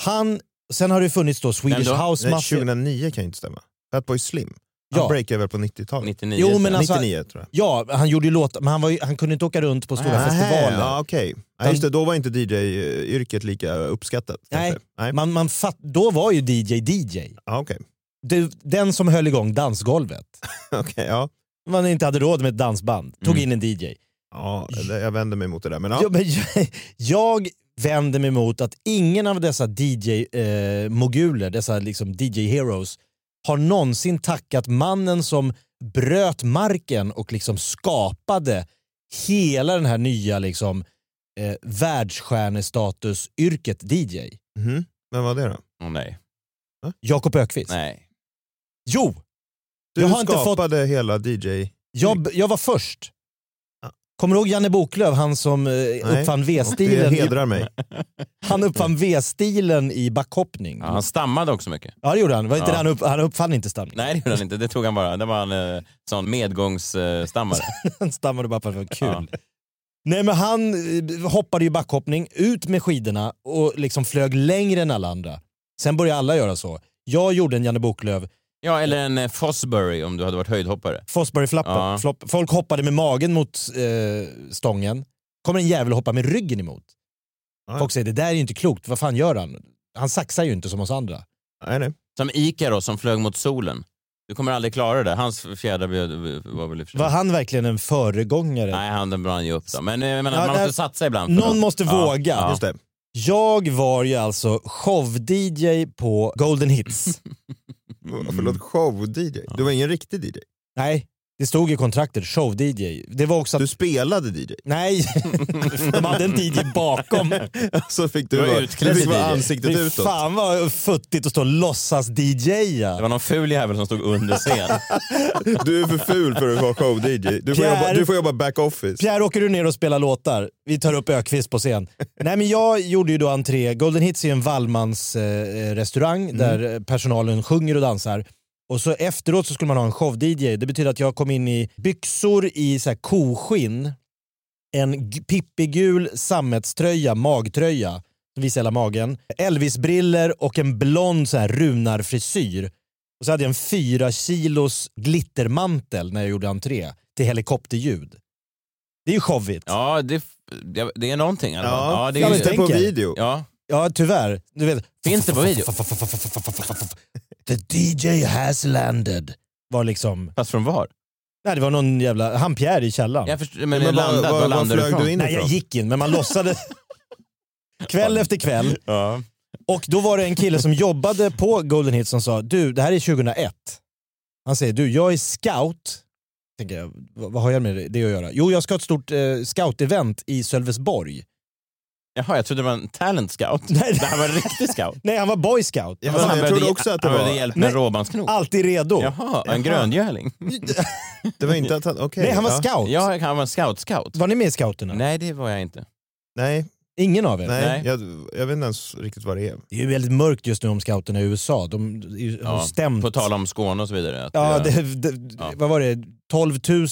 [SPEAKER 3] Han, sen har det funnits då Swedish House
[SPEAKER 4] Nej,
[SPEAKER 3] Mafia.
[SPEAKER 4] 2009 kan ju inte stämma. Fatboy Slim. Han
[SPEAKER 3] Ja.
[SPEAKER 4] breakade väl på 90-talet?
[SPEAKER 2] 99.
[SPEAKER 3] Jo, men alltså-
[SPEAKER 4] 99 tror jag.
[SPEAKER 3] Ja, han gjorde ju låtar, men han, var ju, han kunde inte åka runt på stora
[SPEAKER 4] Nähä,
[SPEAKER 3] festivaler.
[SPEAKER 4] Ja, okej. Ja, just det, då var inte DJ-yrket lika uppskattat. kanske.
[SPEAKER 3] Nej, Man, man fatt, då var ju DJ DJ.
[SPEAKER 4] Ja, okej.
[SPEAKER 3] Du, den som höll igång dansgolvet.
[SPEAKER 4] Okej, ja.
[SPEAKER 3] Man inte hade råd med ett dansband. Tog in en DJ.
[SPEAKER 4] ja, det- jag vänder mig mot det där. Men, ja.
[SPEAKER 3] Ja, men jag, jag vänder mig mot att ingen av dessa DJ-moguler, dessa liksom DJ-heroes, har någonsin tackat mannen som bröt marken och liksom skapade hela den här nya liksom, eh, världsstjärnestatus-yrket DJ.
[SPEAKER 4] Mhm. Vem var det då?
[SPEAKER 2] Åh, nej.
[SPEAKER 3] Jakob Ökvist.
[SPEAKER 2] nej.
[SPEAKER 3] Jo!
[SPEAKER 4] Du
[SPEAKER 3] Jag har inte fått-
[SPEAKER 4] skapade hela DJ...
[SPEAKER 3] Jag, jag var först. Kommer du ihåg Janne Boklöv, han som eh, uppfann
[SPEAKER 4] Det
[SPEAKER 3] V-stilen? i-
[SPEAKER 4] hedrar mig.
[SPEAKER 3] Han uppfann V-stilen i backhoppning.
[SPEAKER 2] Ja, han stammade också mycket.
[SPEAKER 3] Ja det gjorde han. Var inte
[SPEAKER 2] Ja.
[SPEAKER 3] det han, upp, han uppfann inte stamning.
[SPEAKER 2] Nej, det gjorde han inte. Det tog han bara. Det var en eh, sån medgångsstammare.
[SPEAKER 3] Han stammade bara för att det var kul.
[SPEAKER 2] Ja.
[SPEAKER 3] Nej men han eh, hoppade ju backhoppning, ut med skidorna och liksom flög längre än alla andra. Sen började alla göra så. Jag gjorde en Janne Boklöv,
[SPEAKER 2] ja, eller en eh, Fosbury om du hade varit höjdhoppare.
[SPEAKER 3] Fosbury-flappen.
[SPEAKER 2] Ja.
[SPEAKER 3] Flopp. Folk hoppade med magen mot eh, stången. Kommer en jävel hoppa med ryggen emot.
[SPEAKER 4] Ja.
[SPEAKER 3] Folk säger det där är ju inte klokt, vad fan gör han? Han saxar ju inte som oss andra.
[SPEAKER 4] Nej, nej.
[SPEAKER 2] Som Ikaros som flög mot solen. Du kommer aldrig klara det. Hans fjädrar blev- var väl i och för sig-
[SPEAKER 3] Var han verkligen en föregångare?
[SPEAKER 2] Nej, han den brann ju upp då. Men, eh, jag menar,
[SPEAKER 3] Ja,
[SPEAKER 2] man måste
[SPEAKER 3] där-
[SPEAKER 2] satsa ibland. för
[SPEAKER 3] Någon
[SPEAKER 2] något.
[SPEAKER 3] måste
[SPEAKER 2] Ja,
[SPEAKER 3] våga.
[SPEAKER 2] ja.
[SPEAKER 4] Just det.
[SPEAKER 3] Jag var ju alltså show-DJ på Golden Hits.
[SPEAKER 4] Förlåt, show-DJ. Du var ingen riktig DJ.
[SPEAKER 3] Nej, det stod i kontraktet show-DJ. Det var också att...
[SPEAKER 4] Du spelade DJ.
[SPEAKER 3] Nej, de hade en DJ bakom.
[SPEAKER 4] Så fick
[SPEAKER 2] Du
[SPEAKER 4] du,
[SPEAKER 2] var
[SPEAKER 4] vara-
[SPEAKER 2] utklädd
[SPEAKER 4] du fick vara
[SPEAKER 2] DJ.
[SPEAKER 4] ansiktet
[SPEAKER 3] Det
[SPEAKER 4] utåt.
[SPEAKER 3] fan vad futtigt att stå och låtsas-DJa.
[SPEAKER 2] Det var någon ful jävel som stod under scen.
[SPEAKER 4] Du är för ful för att vara show-DJ. Du, får
[SPEAKER 3] Pierre-
[SPEAKER 4] jobba- du får jobba back-office.
[SPEAKER 3] Pierre, åker du ner och spelar låtar? Vi tar upp Ökvist på scen. Nej, men jag gjorde ju då entré. Golden Hits är ju en Wallmans eh, restaurang där eh, personalen sjunger och dansar. Och så efteråt så skulle man ha en show-DJ. Det betyder att jag kom in i byxor i så här koskinn, en g- pippigul sammetströja, magtröja, som visar hela magen, Elvis-briller och en blond så här runarfrisyr. Och så hade jag en fyra kilos glittermantel när jag gjorde entré till helikopterljud. Det är ju showigt. Ja.
[SPEAKER 2] Ja, det, det- det är någonting. i alla fall.
[SPEAKER 4] Ja,
[SPEAKER 2] det
[SPEAKER 3] jag
[SPEAKER 2] är,
[SPEAKER 4] finns
[SPEAKER 3] vet
[SPEAKER 4] det på
[SPEAKER 3] tänker.
[SPEAKER 4] video?
[SPEAKER 2] ja.
[SPEAKER 3] tyvärr. Du vet.
[SPEAKER 2] Finns det på video?
[SPEAKER 3] The DJ has landed. Var liksom...
[SPEAKER 2] Fast från var?
[SPEAKER 3] Nej, det var någon jävla... Han Pierre i källaren.
[SPEAKER 2] Jag förstår, men,
[SPEAKER 4] Men
[SPEAKER 2] men
[SPEAKER 4] vad-
[SPEAKER 2] landad,
[SPEAKER 4] vad-
[SPEAKER 2] var
[SPEAKER 4] vad
[SPEAKER 2] landade du
[SPEAKER 4] flög
[SPEAKER 2] ifrån?
[SPEAKER 4] du in?
[SPEAKER 3] Nej, jag gick in, men man låtsades... kväll efter kväll.
[SPEAKER 2] Ja.
[SPEAKER 3] Och då var det en kille som jobbade på Golden Hits som sa, du, det här är 2001. Han säger, du, jag är scout. Tänker jag, vad, vad har jag med det att göra? Jo, jag ska ha ett stort eh, scout-event i Sölvesborg.
[SPEAKER 2] Jaha, jag trodde det var en talent scout.
[SPEAKER 3] Nej.
[SPEAKER 2] Det här var en riktig scout.
[SPEAKER 3] Nej, han var boy scout.
[SPEAKER 2] Men
[SPEAKER 4] Ja, men
[SPEAKER 2] han
[SPEAKER 4] jag
[SPEAKER 2] behövde
[SPEAKER 4] trodde
[SPEAKER 2] ge-
[SPEAKER 4] också att det
[SPEAKER 2] han
[SPEAKER 4] var...
[SPEAKER 2] behövde hjälp med
[SPEAKER 3] Nej.
[SPEAKER 2] råbandsknop.
[SPEAKER 3] Alltid redo.
[SPEAKER 2] Jaha,
[SPEAKER 4] Jaha.
[SPEAKER 2] en gröngöling.
[SPEAKER 4] Det var inte att han... Okej.
[SPEAKER 3] Nej, han var
[SPEAKER 4] ja.
[SPEAKER 3] scout.
[SPEAKER 2] Ja, han var scout-scout.
[SPEAKER 3] Var ni med i scouterna?
[SPEAKER 2] Nej, det var jag inte.
[SPEAKER 4] Nej,
[SPEAKER 3] Ingen av er?
[SPEAKER 4] Nej, Jag, jag vet inte ens riktigt vad det är.
[SPEAKER 3] Det är ju väldigt mörkt just nu om scouterna i USA. De de har
[SPEAKER 2] Ja,
[SPEAKER 3] stämt...
[SPEAKER 2] På tal om Skåne och så vidare. att
[SPEAKER 3] Mm.
[SPEAKER 2] eh,
[SPEAKER 3] Ja,
[SPEAKER 2] det,
[SPEAKER 3] det, det, Vad var det? 12 000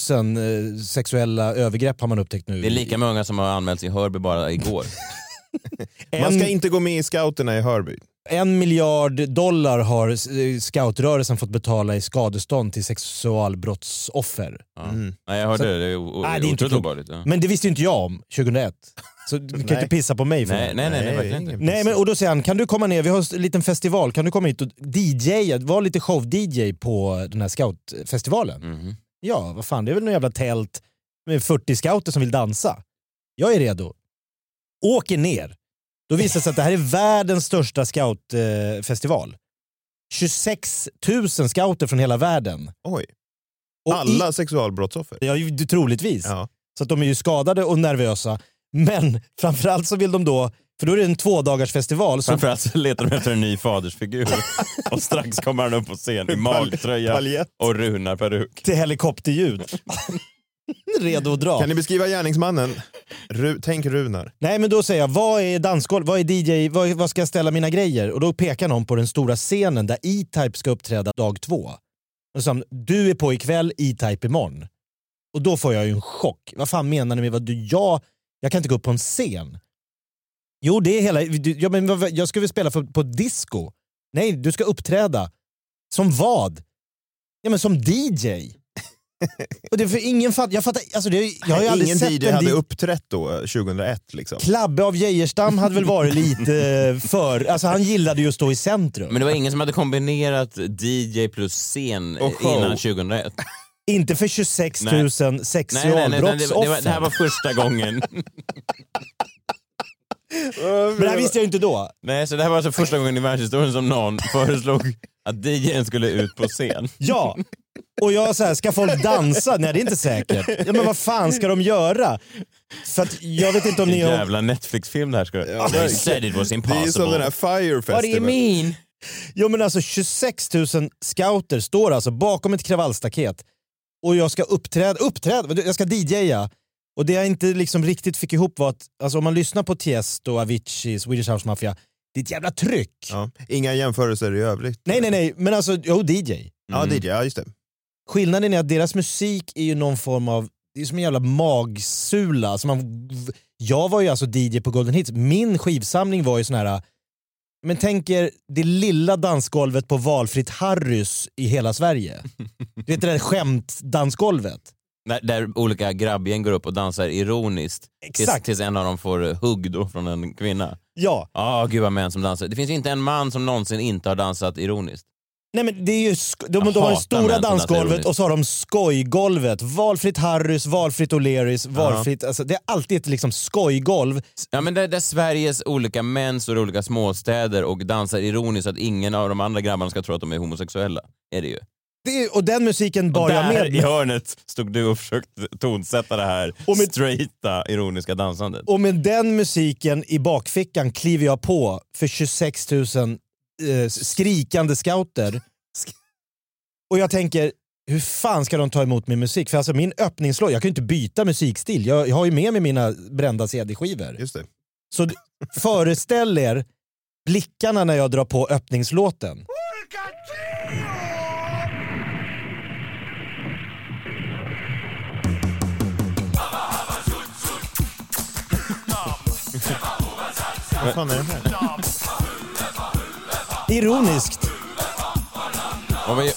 [SPEAKER 3] eh, sexuella övergrepp har man upptäckt nu.
[SPEAKER 2] det är lika många som har anmälts i Hörby bara igår.
[SPEAKER 4] Man ska
[SPEAKER 3] En-
[SPEAKER 4] inte gå med i scouterna i Hörby.
[SPEAKER 3] En miljard dollar har eh, scoutrörelsen fått betala i skadestånd till sexualbrottsoffer.
[SPEAKER 4] Mm.
[SPEAKER 2] Nej, jag hörde
[SPEAKER 3] Så-
[SPEAKER 2] det. Det är, o-
[SPEAKER 3] Nej, det är inte
[SPEAKER 2] otroligt
[SPEAKER 3] klokt.
[SPEAKER 2] obehagligt. Ja.
[SPEAKER 3] Men det visste ju inte jag om 2001. Så du kan ju
[SPEAKER 4] Nej.
[SPEAKER 3] inte pissa på mig för
[SPEAKER 2] Nej,
[SPEAKER 3] det.
[SPEAKER 2] nej, nej, nej,
[SPEAKER 4] Nej,
[SPEAKER 2] verkligen inte.
[SPEAKER 3] Nej, men, och då säger han, kan du komma ner, vi har en liten festival, kan du komma hit och DJa, var lite show-DJ på den här scoutfestivalen?
[SPEAKER 2] Mhm.
[SPEAKER 3] Ja, vad fan, det är väl något jävla tält med 40 scouter som vill dansa. Jag är redo. Åker ner. Då visar det sig att det här är världens största scoutfestival. 26 000 scouter från hela världen.
[SPEAKER 4] Oj.
[SPEAKER 3] Och
[SPEAKER 4] Alla sexualbrottsoffer.
[SPEAKER 3] I, ja, ju- troligtvis.
[SPEAKER 4] Ja.
[SPEAKER 3] Så att de är ju skadade och nervösa. Men framförallt så vill de då, för då är det en tvådagarsfestival. Så
[SPEAKER 2] Framförallt så letar de efter en ny fadersfigur och strax kommer han upp på scen i magtröja
[SPEAKER 4] Paljett.
[SPEAKER 2] och runarperuk.
[SPEAKER 3] till helikopterljud. Redo att dra.
[SPEAKER 4] Kan ni beskriva gärningsmannen? Ru Tänk Runar.
[SPEAKER 3] Nej men då säger jag, vad är dansgolv, vad är DJ, vad, vad ska jag ställa mina grejer? Och då pekar någon på den stora scenen där E-Type ska uppträda dag två. Och så, du är på ikväll, E-Type imorgon. Och då får jag ju en chock. Vad fan menar ni med vad du, jag, jag kan inte gå upp på en scen. Jo det är hela, du, ja, men, vad- jag ska väl spela för, på disco? Nej, du ska uppträda. Som vad? Ja men som DJ. Och det är för ingen fatt, jag fattar, alltså det, jag har ju aldrig
[SPEAKER 4] Ingen
[SPEAKER 3] sett
[SPEAKER 4] DJ
[SPEAKER 3] en
[SPEAKER 4] hade
[SPEAKER 3] DJ
[SPEAKER 4] uppträtt då, 2001 liksom.
[SPEAKER 3] Klabbe av Geijerstam hade väl varit lite för... Alltså han gillade ju att stå i centrum.
[SPEAKER 2] Men det var ingen som hade kombinerat DJ plus scen
[SPEAKER 4] Och show.
[SPEAKER 2] innan 2001.
[SPEAKER 3] Inte för 26 000
[SPEAKER 2] Nej. Nej, nej, nej, nej, det, det, var, det här
[SPEAKER 3] sexualbrottsoffer.
[SPEAKER 2] var första gången.
[SPEAKER 3] Men det här visste jag ju inte då.
[SPEAKER 2] Nej, så det här var alltså första gången i världshistorien som någon föreslog att DJn skulle ut på scen.
[SPEAKER 3] Ja. Och jag så här, ska folk dansa? Nej, det är inte säkert. Ja, men vad fan ska de göra? För att jag vet inte om
[SPEAKER 2] En
[SPEAKER 3] ni har...
[SPEAKER 2] jävla Netflix-film det här ska
[SPEAKER 4] Ja,
[SPEAKER 2] They
[SPEAKER 4] verkligen.
[SPEAKER 2] said it was
[SPEAKER 4] Det är ju som den här
[SPEAKER 2] impossible.
[SPEAKER 4] Fire Festival.
[SPEAKER 2] mean?
[SPEAKER 3] Jo men alltså 26 000 scouter står alltså bakom ett kravallstaket och jag ska uppträda, uppträda, jag ska DJa. Och det jag inte liksom riktigt fick ihop var att alltså om man lyssnar på Tiesto, Avicii, Swedish House Mafia, det är ett jävla tryck.
[SPEAKER 4] Ja. Inga jämförelser i övrigt.
[SPEAKER 3] Nej nej nej, men alltså jo DJ.
[SPEAKER 4] Ja, DJ, ja just det.
[SPEAKER 3] Skillnaden är att deras musik är ju någon form av, det är som en jävla magsula. Alltså man, jag var ju alltså DJ på Golden Hits, min skivsamling var ju sån här, men tänk er det lilla dansgolvet på valfritt Harrys i hela Sverige. Du vet det där skämtdansgolvet?
[SPEAKER 2] Där, där olika grabbgäng går upp och dansar ironiskt tills,
[SPEAKER 3] Exakt.
[SPEAKER 2] tills en av dem får eh, hugg då från en kvinna.
[SPEAKER 3] Ja,
[SPEAKER 2] Ja, gud vad män som dansar. Det finns ju inte en man som någonsin inte har dansat ironiskt.
[SPEAKER 3] nej men det är ju, sk- de,
[SPEAKER 2] Jag
[SPEAKER 3] de har det
[SPEAKER 2] hatar män
[SPEAKER 3] stora
[SPEAKER 2] som dansar
[SPEAKER 3] dansgolvet
[SPEAKER 2] ironiskt.
[SPEAKER 3] och så har de skojgolvet. Valfritt Harrys, valfritt O'Learys, valfritt, alltså det är alltid ett liksom skojgolv.
[SPEAKER 2] Ja, men där, där Sveriges olika män står i olika småstäder och dansar ironiskt så att ingen av de andra grabbarna ska tro att de är homosexuella. Är det ju.
[SPEAKER 3] Det är, och den musiken
[SPEAKER 2] Och
[SPEAKER 3] bar jag
[SPEAKER 2] där
[SPEAKER 3] med.
[SPEAKER 2] i hörnet stod du och försökte tonsätta det här
[SPEAKER 3] Och med-
[SPEAKER 2] straighta ironiska dansandet.
[SPEAKER 3] Och med den musiken i bakfickan kliver jag på för 26 000 eh, skrikande scouter. Och jag tänker, hur fan ska de ta emot min musik? För alltså min öppningslåt, jag kan ju inte byta musikstil. Jag, jag har ju med mig mina brända CD-skivor.
[SPEAKER 4] Just det.
[SPEAKER 3] Så d- föreställ er blickarna när jag drar på öppningslåten.
[SPEAKER 4] Vad fan är det här?
[SPEAKER 3] Ironiskt.
[SPEAKER 2] Och vad,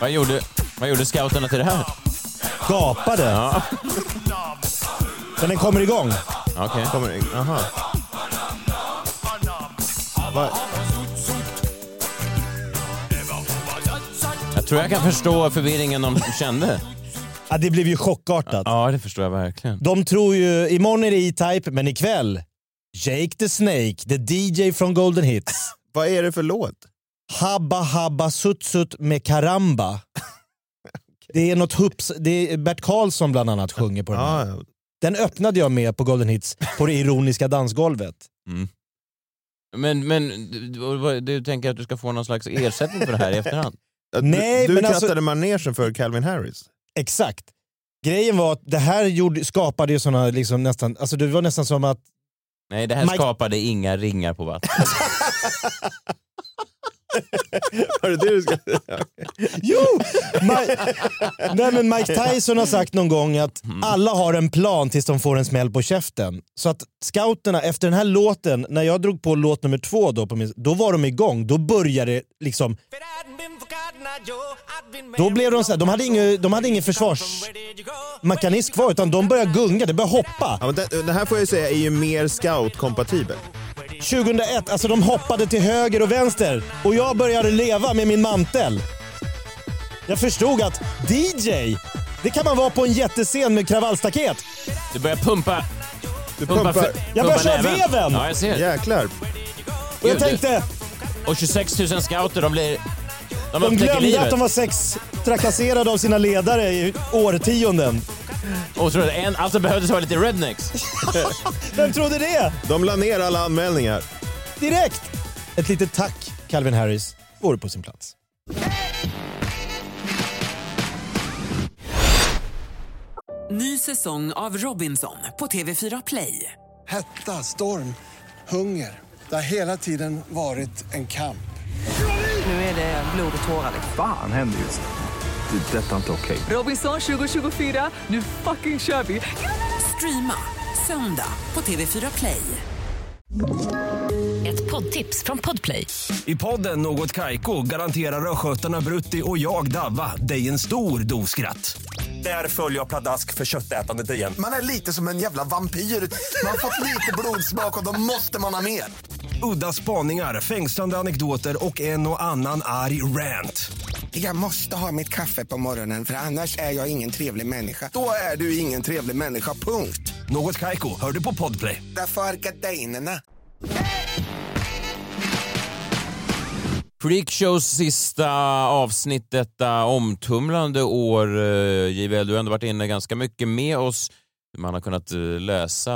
[SPEAKER 2] vad, gjorde, vad gjorde scouterna till det här?
[SPEAKER 3] Gapade.
[SPEAKER 2] Ja.
[SPEAKER 3] Men den kommer igång.
[SPEAKER 2] Okej.
[SPEAKER 4] Kommer det? Aha. Va?
[SPEAKER 2] Jag tror jag kan förstå förvirringen de kände.
[SPEAKER 3] Ja, det blev ju chockartat.
[SPEAKER 2] Ja, det förstår jag verkligen.
[SPEAKER 3] De tror ju, imorgon är det E-Type, men ikväll, Jake the Snake, the DJ från Golden Hits.
[SPEAKER 4] Vad är det för låt?
[SPEAKER 3] Habba Habba Sutsut med Karamba. Det är något hups, det är Bert Karlsson bland annat sjunger på den här.
[SPEAKER 4] Ja, ja.
[SPEAKER 3] Den öppnade jag med på Golden Hits, på det ironiska dansgolvet.
[SPEAKER 2] Men, men du- du, du tänker att du ska få någon slags ersättning för det här i efterhand?
[SPEAKER 4] Att
[SPEAKER 3] Nej,
[SPEAKER 4] du du
[SPEAKER 3] men alltså-
[SPEAKER 4] krattade manegen för Calvin Harris.
[SPEAKER 3] Exakt. Grejen var att det här gjorde, skapade ju såna liksom nästan, alltså det var nästan som att
[SPEAKER 2] Nej, det här
[SPEAKER 3] Mike-
[SPEAKER 2] skapade inga ringar på vattnet.
[SPEAKER 4] Var det det du ska
[SPEAKER 3] Jo! Mike, nej men Mike Tyson har sagt någon gång att alla har en plan tills de får en smäll på käften. Så att scouterna, efter den här låten, när jag drog på låt nummer två då, på min, då var de igång. Då började det liksom... Då blev de så här, de hade ingen, de hade ingen försvarsmekanism kvar utan de började gunga, det började hoppa.
[SPEAKER 4] Ja, men det, det här får jag säga är ju mer scout-kompatibel.
[SPEAKER 3] 2001, alltså de hoppade till höger och vänster och jag började leva med min mantel. Jag förstod att DJ, det kan man vara på en jättescen med kravallstaket.
[SPEAKER 2] Du börjar pumpa... Du
[SPEAKER 3] pumpar- Jag börjar köra veven!
[SPEAKER 2] Ja, jag ser.
[SPEAKER 4] Jäklar.
[SPEAKER 3] Och jag tänkte,
[SPEAKER 2] Och 26 000 scouter, de blir... De,
[SPEAKER 3] de
[SPEAKER 2] upptäcker
[SPEAKER 3] glömde
[SPEAKER 2] livet.
[SPEAKER 3] att de var sex trakasserade av sina ledare i årtionden.
[SPEAKER 2] Och så, en, alltså behövdes vara lite rednecks.
[SPEAKER 3] Vem trodde det?
[SPEAKER 4] De la ner alla anmälningar.
[SPEAKER 3] Direkt! Ett litet tack, Calvin Harris, vore på sin plats.
[SPEAKER 12] Ny säsong av Robinson på TV4 Play.
[SPEAKER 13] Hetta, storm, hunger. Det har hela tiden varit en kamp.
[SPEAKER 12] Nu är det blod och tårar.
[SPEAKER 14] Fan händer just nu. Det. är Detta är inte okej.
[SPEAKER 12] Robinson 2024, nu fucking kör vi! Streama söndag på TV4 Play.
[SPEAKER 15] Ett poddtips från Podplay.
[SPEAKER 16] I podden Något Kaiko garanterar östgötarna Brutti och jag, Davva, dig en stor dos skratt. Där följer jag pladask för köttätandet igen.
[SPEAKER 13] Man är lite som en jävla vampyr. Man har fått lite blodsmak och då måste man ha mer.
[SPEAKER 16] Udda spaningar, fängslande anekdoter och en och annan arg rant.
[SPEAKER 13] Jag måste ha mitt kaffe på morgonen för annars är jag ingen trevlig människa. Då är du ingen trevlig människa, punkt.
[SPEAKER 16] Något Kaiko, hör du på podplay.
[SPEAKER 13] Därför är gardinerna.
[SPEAKER 2] Freakshows sista avsnitt detta omtumlande år. Eh, JVL, du har ändå varit inne ganska mycket med oss. Man har kunnat eh, läsa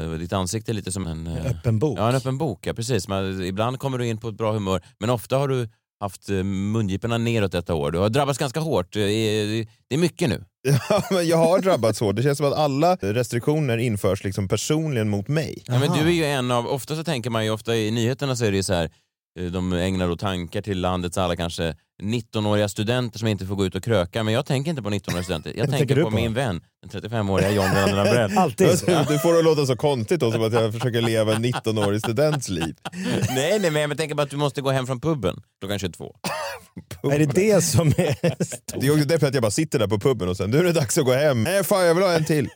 [SPEAKER 2] eh, ditt ansikte lite som en... eh,
[SPEAKER 3] Öppen bok.
[SPEAKER 2] Ja, en öppen bok. Ja, precis. Men ibland kommer du in på ett bra humör, men ofta har du haft eh, mungiporna neråt detta år. Du har drabbats ganska hårt. Eh, Det är mycket nu.
[SPEAKER 4] Ja, men jag har drabbats hårt. Det känns som att alla restriktioner införs liksom personligen mot mig.
[SPEAKER 2] Ja, men du är ju en av, ofta så tänker man ju ofta i nyheterna så är det ju så här, eh, de ägnar då tankar till landets alla kanske 19-åriga studenter som inte får gå ut och kröka, men jag tänker inte på 19-åriga studenter. Jag
[SPEAKER 4] Vad
[SPEAKER 2] tänker
[SPEAKER 4] tänker du
[SPEAKER 2] på,
[SPEAKER 4] på?
[SPEAKER 2] min vän, den 35-åriga John Alltså, Lennon Labrell.
[SPEAKER 4] Du får det att låta så konstigt då, som att jag försöker leva en 19-årig students liv.
[SPEAKER 2] Nej, nej, men jag tänker bara att du måste gå hem från puben klockan 22.
[SPEAKER 3] Är det det som är...
[SPEAKER 4] Det är också därför att jag bara sitter där på puben och sen nu är det dags att gå hem. Nej fan jag vill ha en till.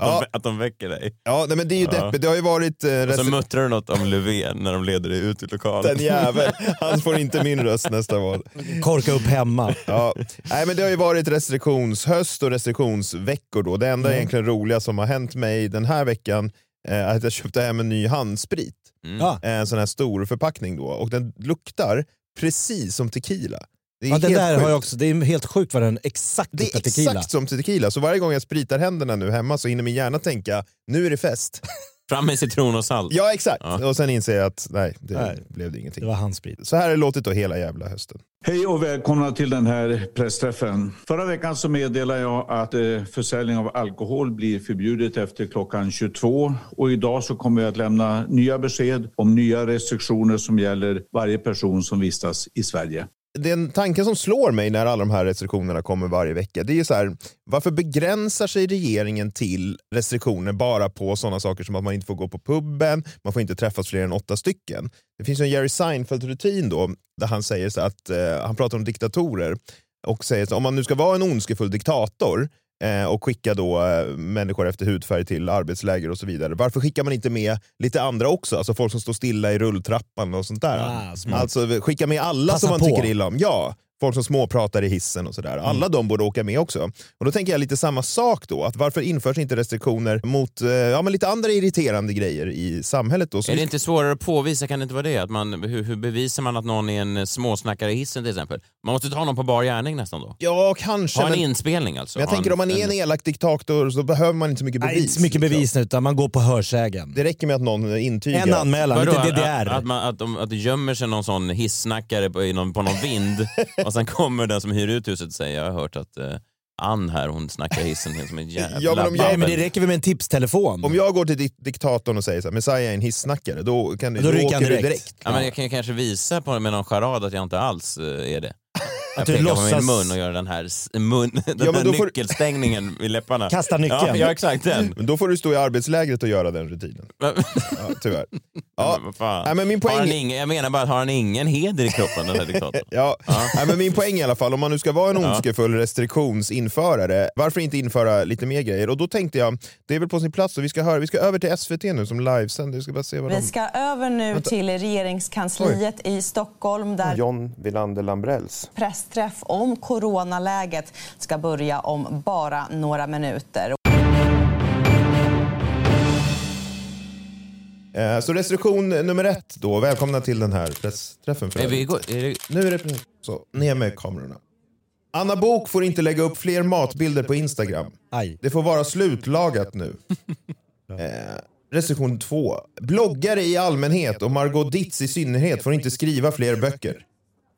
[SPEAKER 2] Att, de, att de väcker dig.
[SPEAKER 4] Ja nej, men det är ju
[SPEAKER 2] Ja.
[SPEAKER 4] deppigt. Det har ju varit... Eh,
[SPEAKER 2] Och så
[SPEAKER 4] restri-
[SPEAKER 2] muttrar du något om Löfven när de leder dig ut ur lokalen.
[SPEAKER 4] den jäveln, han får inte min röst nästa val.
[SPEAKER 3] Korka upp hemma.
[SPEAKER 4] Ja. Nej, men det har ju varit restriktionshöst och restriktionsveckor då. Det enda
[SPEAKER 3] Mm.
[SPEAKER 4] egentligen roliga som har hänt mig den här veckan eh, är att jag köpte hem en ny handsprit.
[SPEAKER 3] Mm. Ah.
[SPEAKER 4] En sån här stor förpackning då och den luktar precis som tequila. Det är
[SPEAKER 3] Ja, den
[SPEAKER 4] helt
[SPEAKER 3] där
[SPEAKER 4] sjukt.
[SPEAKER 3] har jag också, det är helt sjukt vad den exakt
[SPEAKER 4] Det är
[SPEAKER 3] luktar tequila.
[SPEAKER 4] exakt som till tequila, så varje gång jag spritar händerna nu hemma så hinner min hjärna tänka nu är det fest.
[SPEAKER 2] Fram med citron och salt.
[SPEAKER 4] Ja exakt, och sen inser jag att nej, det
[SPEAKER 2] Nej.
[SPEAKER 4] blev det ingenting.
[SPEAKER 3] Det var handsprit.
[SPEAKER 4] Så här har det låtit då hela jävla hösten.
[SPEAKER 17] Hej och välkomna till den här pressträffen. Förra veckan så meddelade jag att eh, försäljning av alkohol blir förbjudet efter klockan 22 och idag så kommer jag att lämna nya besked om nya restriktioner som gäller varje person som vistas i Sverige.
[SPEAKER 4] den tanken som slår mig när alla de här restriktionerna kommer varje vecka, det är ju så här, varför begränsar sig regeringen till restriktioner bara på sådana saker som att man inte får gå på puben, man får inte träffas fler än åtta stycken. Det finns ju en Jerry Seinfeld-rutin då, där han säger så att, eh, han pratar om diktatorer och säger så, om man nu ska vara en ondskefull diktator eh, och skicka då eh, människor efter hudfärg till arbetsläger och så vidare. Varför skickar man inte med lite andra också? Alltså folk som står stilla i rulltrappan och sånt där.
[SPEAKER 3] Ah, smart.
[SPEAKER 4] alltså skicka med alla
[SPEAKER 3] Passa
[SPEAKER 4] som man
[SPEAKER 3] på.
[SPEAKER 4] tycker illa om. Ja, folk som småpratar i hissen och sådär. Alla de borde åka med också. Och då tänker jag lite samma sak då. Att varför införs inte restriktioner mot eh, ja, men lite andra irriterande grejer i samhället då? Så
[SPEAKER 2] Är det inte svårare att påvisa? Kan det inte vara det? Att man, hur, hur bevisar man att någon är en eh, småsnackare i hissen till exempel? Man måste ta någon på bar gärning nästan då.
[SPEAKER 4] Ja, kanske.
[SPEAKER 2] Ha en
[SPEAKER 4] men-
[SPEAKER 2] inspelning alltså.
[SPEAKER 4] Men jag
[SPEAKER 2] Ha
[SPEAKER 4] tänker om man är en elak diktator så behöver man inte så mycket bevis. liksom.
[SPEAKER 3] Nej, inte så mycket bevis nu, utan man går på hörsägen.
[SPEAKER 4] Det räcker med att någon intygar.
[SPEAKER 3] En anmälan,
[SPEAKER 2] Vadå,
[SPEAKER 3] lite
[SPEAKER 2] att-
[SPEAKER 3] DDR.
[SPEAKER 2] Att, att, man, att, de, att det gömmer sig någon sån hissnackare på, i någon, på någon vind och sen kommer den som hyr ut huset och säger jag har hört att eh, Ann här, hon snackar hissen helt som en jävla
[SPEAKER 4] Ja, men om jag-
[SPEAKER 2] babbel.
[SPEAKER 4] Nej, men det
[SPEAKER 3] räcker väl med en tipstelefon?
[SPEAKER 4] Om jag går till dik- diktatorn och säger så här, Messiah är en hissnackare, då, kan du, åker du direkt.
[SPEAKER 2] Ja, men jag kan ju kanske visa på, med någon charad att jag inte alls eh, är det. Jag
[SPEAKER 4] du
[SPEAKER 2] pekar på
[SPEAKER 4] låtsas-
[SPEAKER 2] min mun och gör den här, s- mun, den
[SPEAKER 4] men
[SPEAKER 2] här
[SPEAKER 4] då får-
[SPEAKER 2] nyckelstängningen vid läpparna.
[SPEAKER 4] Kasta nyckeln.
[SPEAKER 2] Ja, ja exakt den.
[SPEAKER 4] Men då får du stå i arbetslägret och göra den rutinen. ja, tyvärr.
[SPEAKER 2] Ja. Men,
[SPEAKER 4] Nej, men min
[SPEAKER 2] har han
[SPEAKER 4] poäng-
[SPEAKER 2] ingen, jag menar bara, att har han ingen heder i kroppen den här diktatorn?
[SPEAKER 4] Eh, Ja. Nej, men min poäng i alla fall, om man nu ska vara en
[SPEAKER 2] Ja.
[SPEAKER 4] ondskefull restriktionsinförare, varför inte införa lite mer grejer? Och då tänkte jag, det är väl på sin plats, och vi ska, höra, vi ska över till SVT nu som livesänder, vi ska bara se vad de...
[SPEAKER 18] Vi ska över nu till regeringskansliet i Stockholm där
[SPEAKER 4] John Wilander Lambrells.
[SPEAKER 18] pressträff om coronaläget ska börja om bara några minuter.
[SPEAKER 4] Eh, Så restriktion nummer ett då, välkomna till den här pressträffen.
[SPEAKER 2] Är
[SPEAKER 4] För
[SPEAKER 2] vi
[SPEAKER 4] övrigt.
[SPEAKER 2] igång? Är det...
[SPEAKER 4] Nu är det precis så. Ner med kamerorna. Anna Bok får inte lägga upp fler matbilder på Instagram. Det får vara slutlagat nu. eh, restriktion 2. Bloggare i allmänhet och Margot Ditz i synnerhet får inte skriva fler böcker.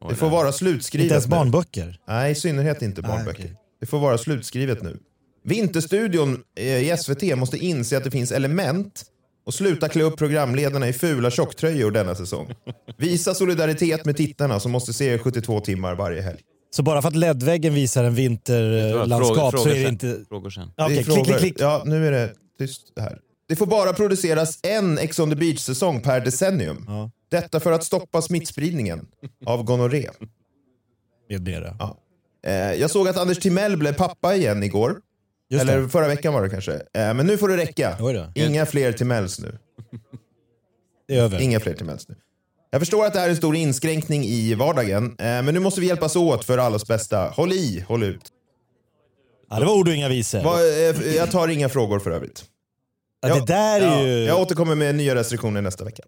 [SPEAKER 4] Det får vara slutskrivet
[SPEAKER 3] Inte ens
[SPEAKER 4] nu.
[SPEAKER 3] barnböcker.
[SPEAKER 4] Nej, i synnerhet inte barnböcker. Det får vara slutskrivet nu. Vinterstudion eh, i SVT måste inse att det finns element och sluta klä upp programledarna i fula tjocktröjor denna säsong. Visa solidaritet med tittarna som måste se 72 timmar varje helg.
[SPEAKER 3] Så bara för att ledväggen visar en
[SPEAKER 4] vad?
[SPEAKER 3] vinterlandskap
[SPEAKER 4] Frågor-
[SPEAKER 3] så är det
[SPEAKER 4] frågor
[SPEAKER 3] inte...
[SPEAKER 4] sen.
[SPEAKER 2] Frågor sen.
[SPEAKER 3] Ja,
[SPEAKER 4] Det är
[SPEAKER 3] Okej, klick,
[SPEAKER 4] frågor.
[SPEAKER 3] klick, klick.
[SPEAKER 4] Ja, nu är det tyst här. Det får bara produceras en Ex on the beach-säsong per decennium. Detta för att stoppa smittspridningen av gonorré.
[SPEAKER 3] Med mera.
[SPEAKER 4] Ja. Eh, jag såg att Anders Timell blev pappa igen igår.
[SPEAKER 3] Just
[SPEAKER 4] Eller
[SPEAKER 3] det.
[SPEAKER 4] förra veckan var det kanske. Eh, men nu får det räcka.
[SPEAKER 3] Oj då.
[SPEAKER 4] Inga fler Timells nu.
[SPEAKER 3] Det är över.
[SPEAKER 4] Inga fler Timells nu. Jag förstår att det här är en stor inskränkning i vardagen, eh, men nu måste vi hjälpas åt för allas bästa. Håll i, håll ut.
[SPEAKER 3] Ja, det var ord och inga visor.
[SPEAKER 4] Vad, eh, jag tar inga frågor för övrigt.
[SPEAKER 3] Ja, det där är
[SPEAKER 4] Ja,
[SPEAKER 3] ju...
[SPEAKER 4] Jag återkommer med nya restriktioner nästa vecka.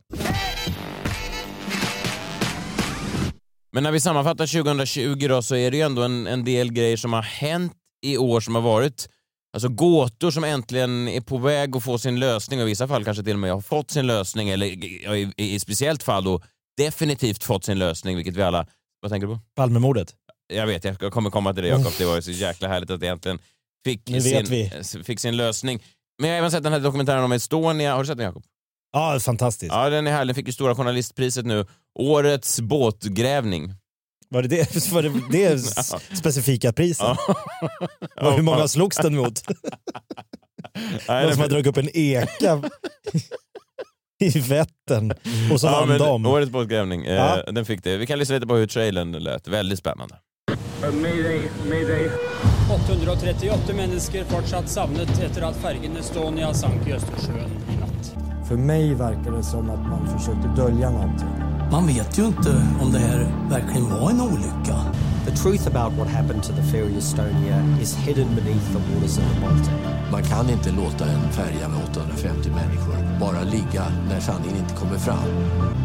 [SPEAKER 2] Men när vi sammanfattar 2020 då så är det ju ändå en, en del grejer som har hänt i år som har varit alltså gåtor som äntligen är på väg att få sin lösning och i vissa fall kanske till och med har fått sin lösning eller i, i, i speciellt fall då definitivt fått sin lösning vilket vi alla... Vad tänker du på?
[SPEAKER 3] Palmemordet.
[SPEAKER 2] Jag vet, jag kommer komma till det Jakob. Det var ju så jäkla härligt att det äntligen fick,
[SPEAKER 3] Nu vet vi.
[SPEAKER 2] sin, fick sin lösning. Men jag har även sett den här dokumentären om Estonia. Har du sett den Jakob?
[SPEAKER 3] Ja, fantastiskt.
[SPEAKER 2] Ja, den är härlig. Den fick ju Stora Journalistpriset nu. Årets båtgrävning.
[SPEAKER 3] Var det det, var det, det s- specifika priset? Var- Hur många slogs den mot?
[SPEAKER 2] Nej,
[SPEAKER 3] Någon
[SPEAKER 2] det-
[SPEAKER 3] som har dragit upp en eka i Vättern och så vann
[SPEAKER 2] men
[SPEAKER 3] de.
[SPEAKER 2] Årets båtgrävning, eh,
[SPEAKER 3] Ja.
[SPEAKER 2] den fick det. Vi kan lyssna lite på hur trailern lät. Väldigt spännande.
[SPEAKER 19] Mayday, mayday. 838 mennesker fortsatt savnet etter at fergen Estonia sank i Østersjøen i natt.
[SPEAKER 20] För mig verkar det som att man försökte dölja någonting.
[SPEAKER 21] Man vet ju inte om det här verkligen var en olycka.
[SPEAKER 22] The truth about what happened to the ferry Estonia is hidden beneath the waters of the Baltic.
[SPEAKER 23] Man kan inte låta en färja med 850 människor bara ligga när sanningen inte kommer fram.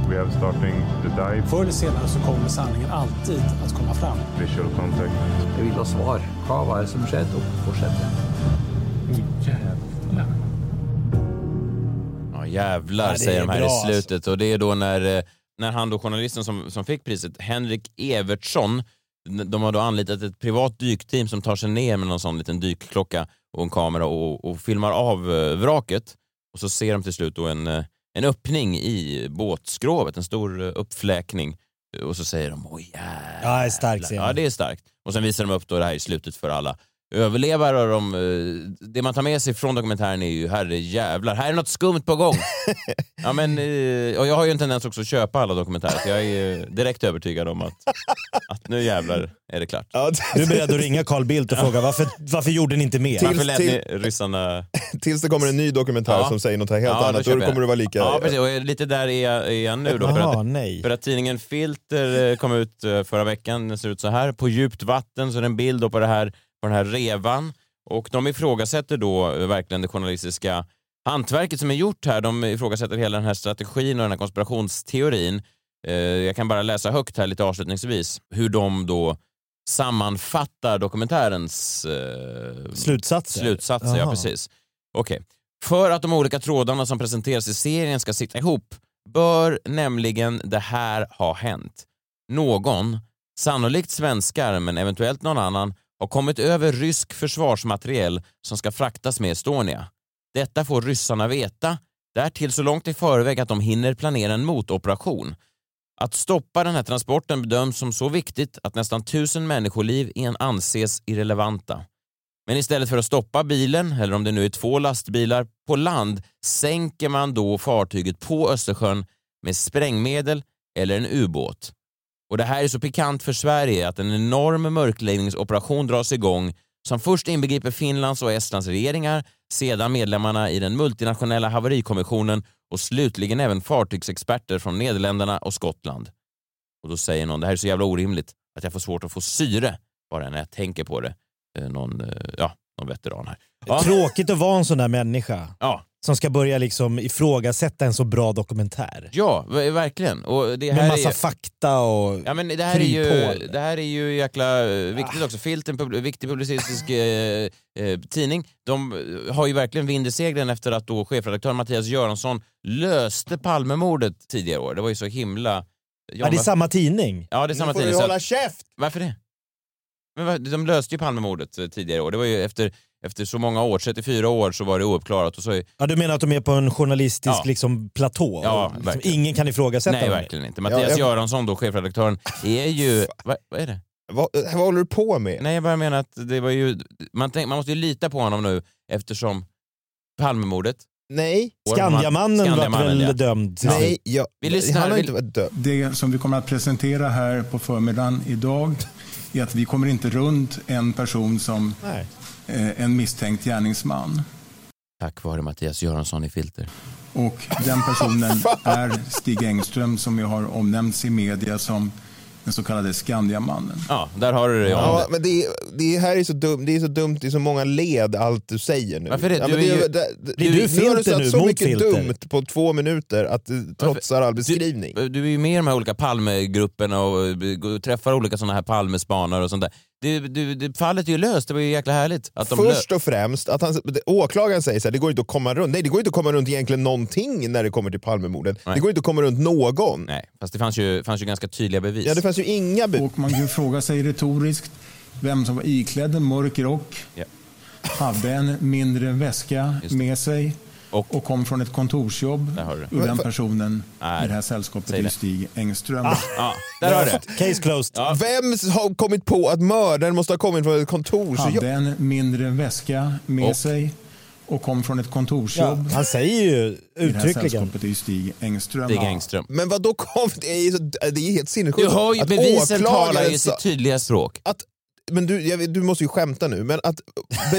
[SPEAKER 23] We have starting the dive.
[SPEAKER 19] Förr eller senare så kommer sanningen alltid att komma fram.
[SPEAKER 23] Visual contact.
[SPEAKER 5] Jag vill ha svar. Vad var det som skedde och fortsätter?
[SPEAKER 2] Ja, jävlar
[SPEAKER 5] Ja, det
[SPEAKER 2] säger
[SPEAKER 5] är
[SPEAKER 2] de här
[SPEAKER 5] bra, alltså.
[SPEAKER 2] i slutet och det är då när, eh, när han då journalisten som, som fick priset, Henrik Evertsson, n- de har då anlitat ett privat dykteam som tar sig ner med någon sån liten dykklocka och en kamera och, och filmar av eh, vraket och så ser de till slut då en, eh, en öppning i båtskrovet, en stor eh, uppfläkning och så säger de oj
[SPEAKER 3] Ja, det är starkt scen.
[SPEAKER 2] Ja, det är starkt. Och sen visar de upp då det här i slutet för alla överlevare. Och de, eh, det man tar med sig från dokumentären är ju herre jävlar, här är något skumt på gång. ja, men, eh, och jag har ju en tendens också att köpa alla dokumentärer, så jag är ju direkt övertygad om att, att nu jävlar är det klart.
[SPEAKER 3] Du är beredd att ringa Carl Bildt och fråga varför, varför gjorde ni inte mer?
[SPEAKER 2] Varför lät ni ryssarna...
[SPEAKER 4] Tills det kommer en ny dokumentär
[SPEAKER 2] Ja.
[SPEAKER 4] som säger något helt
[SPEAKER 2] Ja,
[SPEAKER 4] annat,
[SPEAKER 2] köper
[SPEAKER 4] då
[SPEAKER 2] jag
[SPEAKER 4] kommer
[SPEAKER 2] den.
[SPEAKER 4] du vara lika...
[SPEAKER 2] Ja, precis. Och lite där är jag, är jag nu då. för,
[SPEAKER 3] Jaha,
[SPEAKER 2] att,
[SPEAKER 3] nej.
[SPEAKER 2] för att tidningen Filter eh, kom ut eh, förra veckan, den ser ut så här. På djupt vatten så är det en bild då på, det här, på den här revan. Och de ifrågasätter då eh, verkligen det journalistiska hantverket som är gjort här. De ifrågasätter hela den här strategin och den här konspirationsteorin. Eh, Jag kan bara läsa högt här lite avslutningsvis hur de då sammanfattar dokumentärens eh,
[SPEAKER 3] Slutsatser?
[SPEAKER 2] Slutsatser, ja
[SPEAKER 3] Jaha.
[SPEAKER 2] precis. Okej. För att de olika trådarna som presenteras i serien ska sitta ihop bör nämligen det här ha hänt. Någon, sannolikt svenskar men eventuellt någon annan, har kommit över rysk försvarsmateriel som ska fraktas med Estonia. Detta får ryssarna veta, därtill så långt i förväg att de hinner planera en motoperation. Att stoppa den här transporten bedöms som så viktigt att nästan tusen människoliv en anses irrelevanta. Men istället för att stoppa bilen, eller om det nu är två lastbilar, på land sänker man då fartyget på Östersjön med sprängmedel eller en ubåt. Och det här är så pikant för Sverige att en enorm mörkläggningsoperation dras igång som först inbegriper Finlands och Estlands regeringar, sedan medlemmarna i den multinationella haverikommissionen och slutligen även fartygsexperter från Nederländerna och Skottland. Och då säger någon, det här är så jävla orimligt att jag får svårt att få syre bara när jag tänker på det. Eh, Någon, eh, ja, någon veteran här. Ja.
[SPEAKER 3] Tråkigt att vara en sån där människa
[SPEAKER 2] Ja,
[SPEAKER 3] som ska börja liksom ifrågasätta en så bra dokumentär.
[SPEAKER 2] ja ver- verkligen. Och det här
[SPEAKER 3] Med massa
[SPEAKER 2] är...
[SPEAKER 3] fakta och...
[SPEAKER 2] Ja, men det, här är
[SPEAKER 3] kryphål. Ah.
[SPEAKER 2] ju, det här är ju jäkla eh, viktigt också. Filt, en pub- viktig publicistisk eh, eh, tidning, de eh, har ju verkligen vind i seglen efter att då chefredaktör Mattias Göransson löste Palmemordet tidigare i år. Det var ju så himla...
[SPEAKER 3] Ja, det är
[SPEAKER 2] John-
[SPEAKER 3] samma tidning.
[SPEAKER 2] Ja, det är samma
[SPEAKER 4] Nu får
[SPEAKER 2] tidning.
[SPEAKER 4] du
[SPEAKER 2] så
[SPEAKER 4] hålla
[SPEAKER 2] att-
[SPEAKER 4] käft!
[SPEAKER 2] Varför det? Men va- de löste ju Palmemordet eh, tidigare i år. Det var ju efter, efter så många år, 34 år, så var det ouppklarat. Och så är,
[SPEAKER 3] Ja, du menar att de är på en journalistisk
[SPEAKER 2] Ja.
[SPEAKER 3] liksom, platå?
[SPEAKER 2] Ja,
[SPEAKER 3] Och liksom,
[SPEAKER 2] verkligen.
[SPEAKER 3] ingen kan ifrågasätta
[SPEAKER 2] nej,
[SPEAKER 3] dem.
[SPEAKER 2] verkligen inte. Mattias
[SPEAKER 3] jag-
[SPEAKER 2] Göransson, då, chefredaktören, är ju... Vad vad är det?
[SPEAKER 4] Vad, vad håller du på med?
[SPEAKER 2] Nej, jag bara menar att det var ju... Man, tänk, man måste ju lita på honom nu eftersom Palmemordet...
[SPEAKER 4] Nej.
[SPEAKER 3] Skandiamannen var väl
[SPEAKER 2] ja.
[SPEAKER 3] dömd till
[SPEAKER 2] Ja.
[SPEAKER 3] slut?
[SPEAKER 4] jag,
[SPEAKER 2] Vi lyssnar,
[SPEAKER 6] han har
[SPEAKER 2] vi-
[SPEAKER 6] inte varit död. Det som vi kommer att presentera här på förmiddagen idag är att vi kommer inte runt en person som
[SPEAKER 3] Nej.
[SPEAKER 6] eh, en misstänkt gärningsman.
[SPEAKER 2] Tack vare Mattias Göransson i Filter.
[SPEAKER 6] Och den personen är Stig Engström som ju har omnämnts i media som den så kallade Skandiamannen.
[SPEAKER 2] Ja, där har du det. John.
[SPEAKER 4] Ja, men det, det här är så dumt, det är så dumt i så många led allt du säger nu.
[SPEAKER 2] Varför det?
[SPEAKER 4] Ja,
[SPEAKER 2] Du
[SPEAKER 4] men
[SPEAKER 2] är ju-
[SPEAKER 4] det- det-
[SPEAKER 3] Blir du
[SPEAKER 4] nu har du
[SPEAKER 3] filter
[SPEAKER 4] sagt
[SPEAKER 3] nu
[SPEAKER 4] så
[SPEAKER 3] mot
[SPEAKER 4] mycket
[SPEAKER 3] filter?
[SPEAKER 4] dumt på två minuter att det trotsar all beskrivning.
[SPEAKER 2] Du, du är ju med i de här olika Palmegrupperna och eh, går- träffar olika sådana här Palmespanare och sånt där. Du, du, det, fallet är ju löst, det var ju jäkla härligt. Att de
[SPEAKER 4] Först
[SPEAKER 2] lö-
[SPEAKER 4] och främst, att han, det- åklagaren säger så här, det går inte att komma runt. Nej, det går inte att komma runt egentligen någonting när det kommer till Palmemordet.
[SPEAKER 2] Nej.
[SPEAKER 4] Det går inte att komma runt någon.
[SPEAKER 2] Nej, fast det fanns ju, fanns ju ganska tydliga bevis.
[SPEAKER 4] Ja, det fanns ju inga bud.
[SPEAKER 6] Och man kan ju fråga sig retoriskt vem som var iklädd en mörk rock,
[SPEAKER 2] Ja.
[SPEAKER 6] hade en mindre väska med sig
[SPEAKER 2] och,
[SPEAKER 6] kom från ett kontorsjobb.
[SPEAKER 2] Där har du det.
[SPEAKER 6] Och den personen
[SPEAKER 2] Nej.
[SPEAKER 6] i det här sällskapet
[SPEAKER 2] Säg
[SPEAKER 6] är ju
[SPEAKER 2] det.
[SPEAKER 6] Stig Engström.
[SPEAKER 3] Ah,
[SPEAKER 2] Ja, där har du det.
[SPEAKER 3] Case closed.
[SPEAKER 4] Vem har kommit på att mördaren måste ha kommit från ett kontor?
[SPEAKER 2] Alltså,
[SPEAKER 4] Så
[SPEAKER 6] Hade
[SPEAKER 4] jag,
[SPEAKER 6] en mindre väska med
[SPEAKER 4] Och?
[SPEAKER 6] sig och kom från ett kontorsjobb.
[SPEAKER 3] Ja, han säger ju
[SPEAKER 6] I det här
[SPEAKER 3] uttryckligen.
[SPEAKER 6] sällskapet är ju Stig Engström.
[SPEAKER 2] Stig Engström.
[SPEAKER 4] men vad då kom det? Är ju så, det är helt sinnessjukt.
[SPEAKER 2] Du hör ju,
[SPEAKER 4] Att
[SPEAKER 2] bevisen talar
[SPEAKER 4] åklagaren
[SPEAKER 2] ju
[SPEAKER 4] sa-
[SPEAKER 2] sitt tydliga språk.
[SPEAKER 4] att men du, jag, vet- du måste ju skämta nu, men att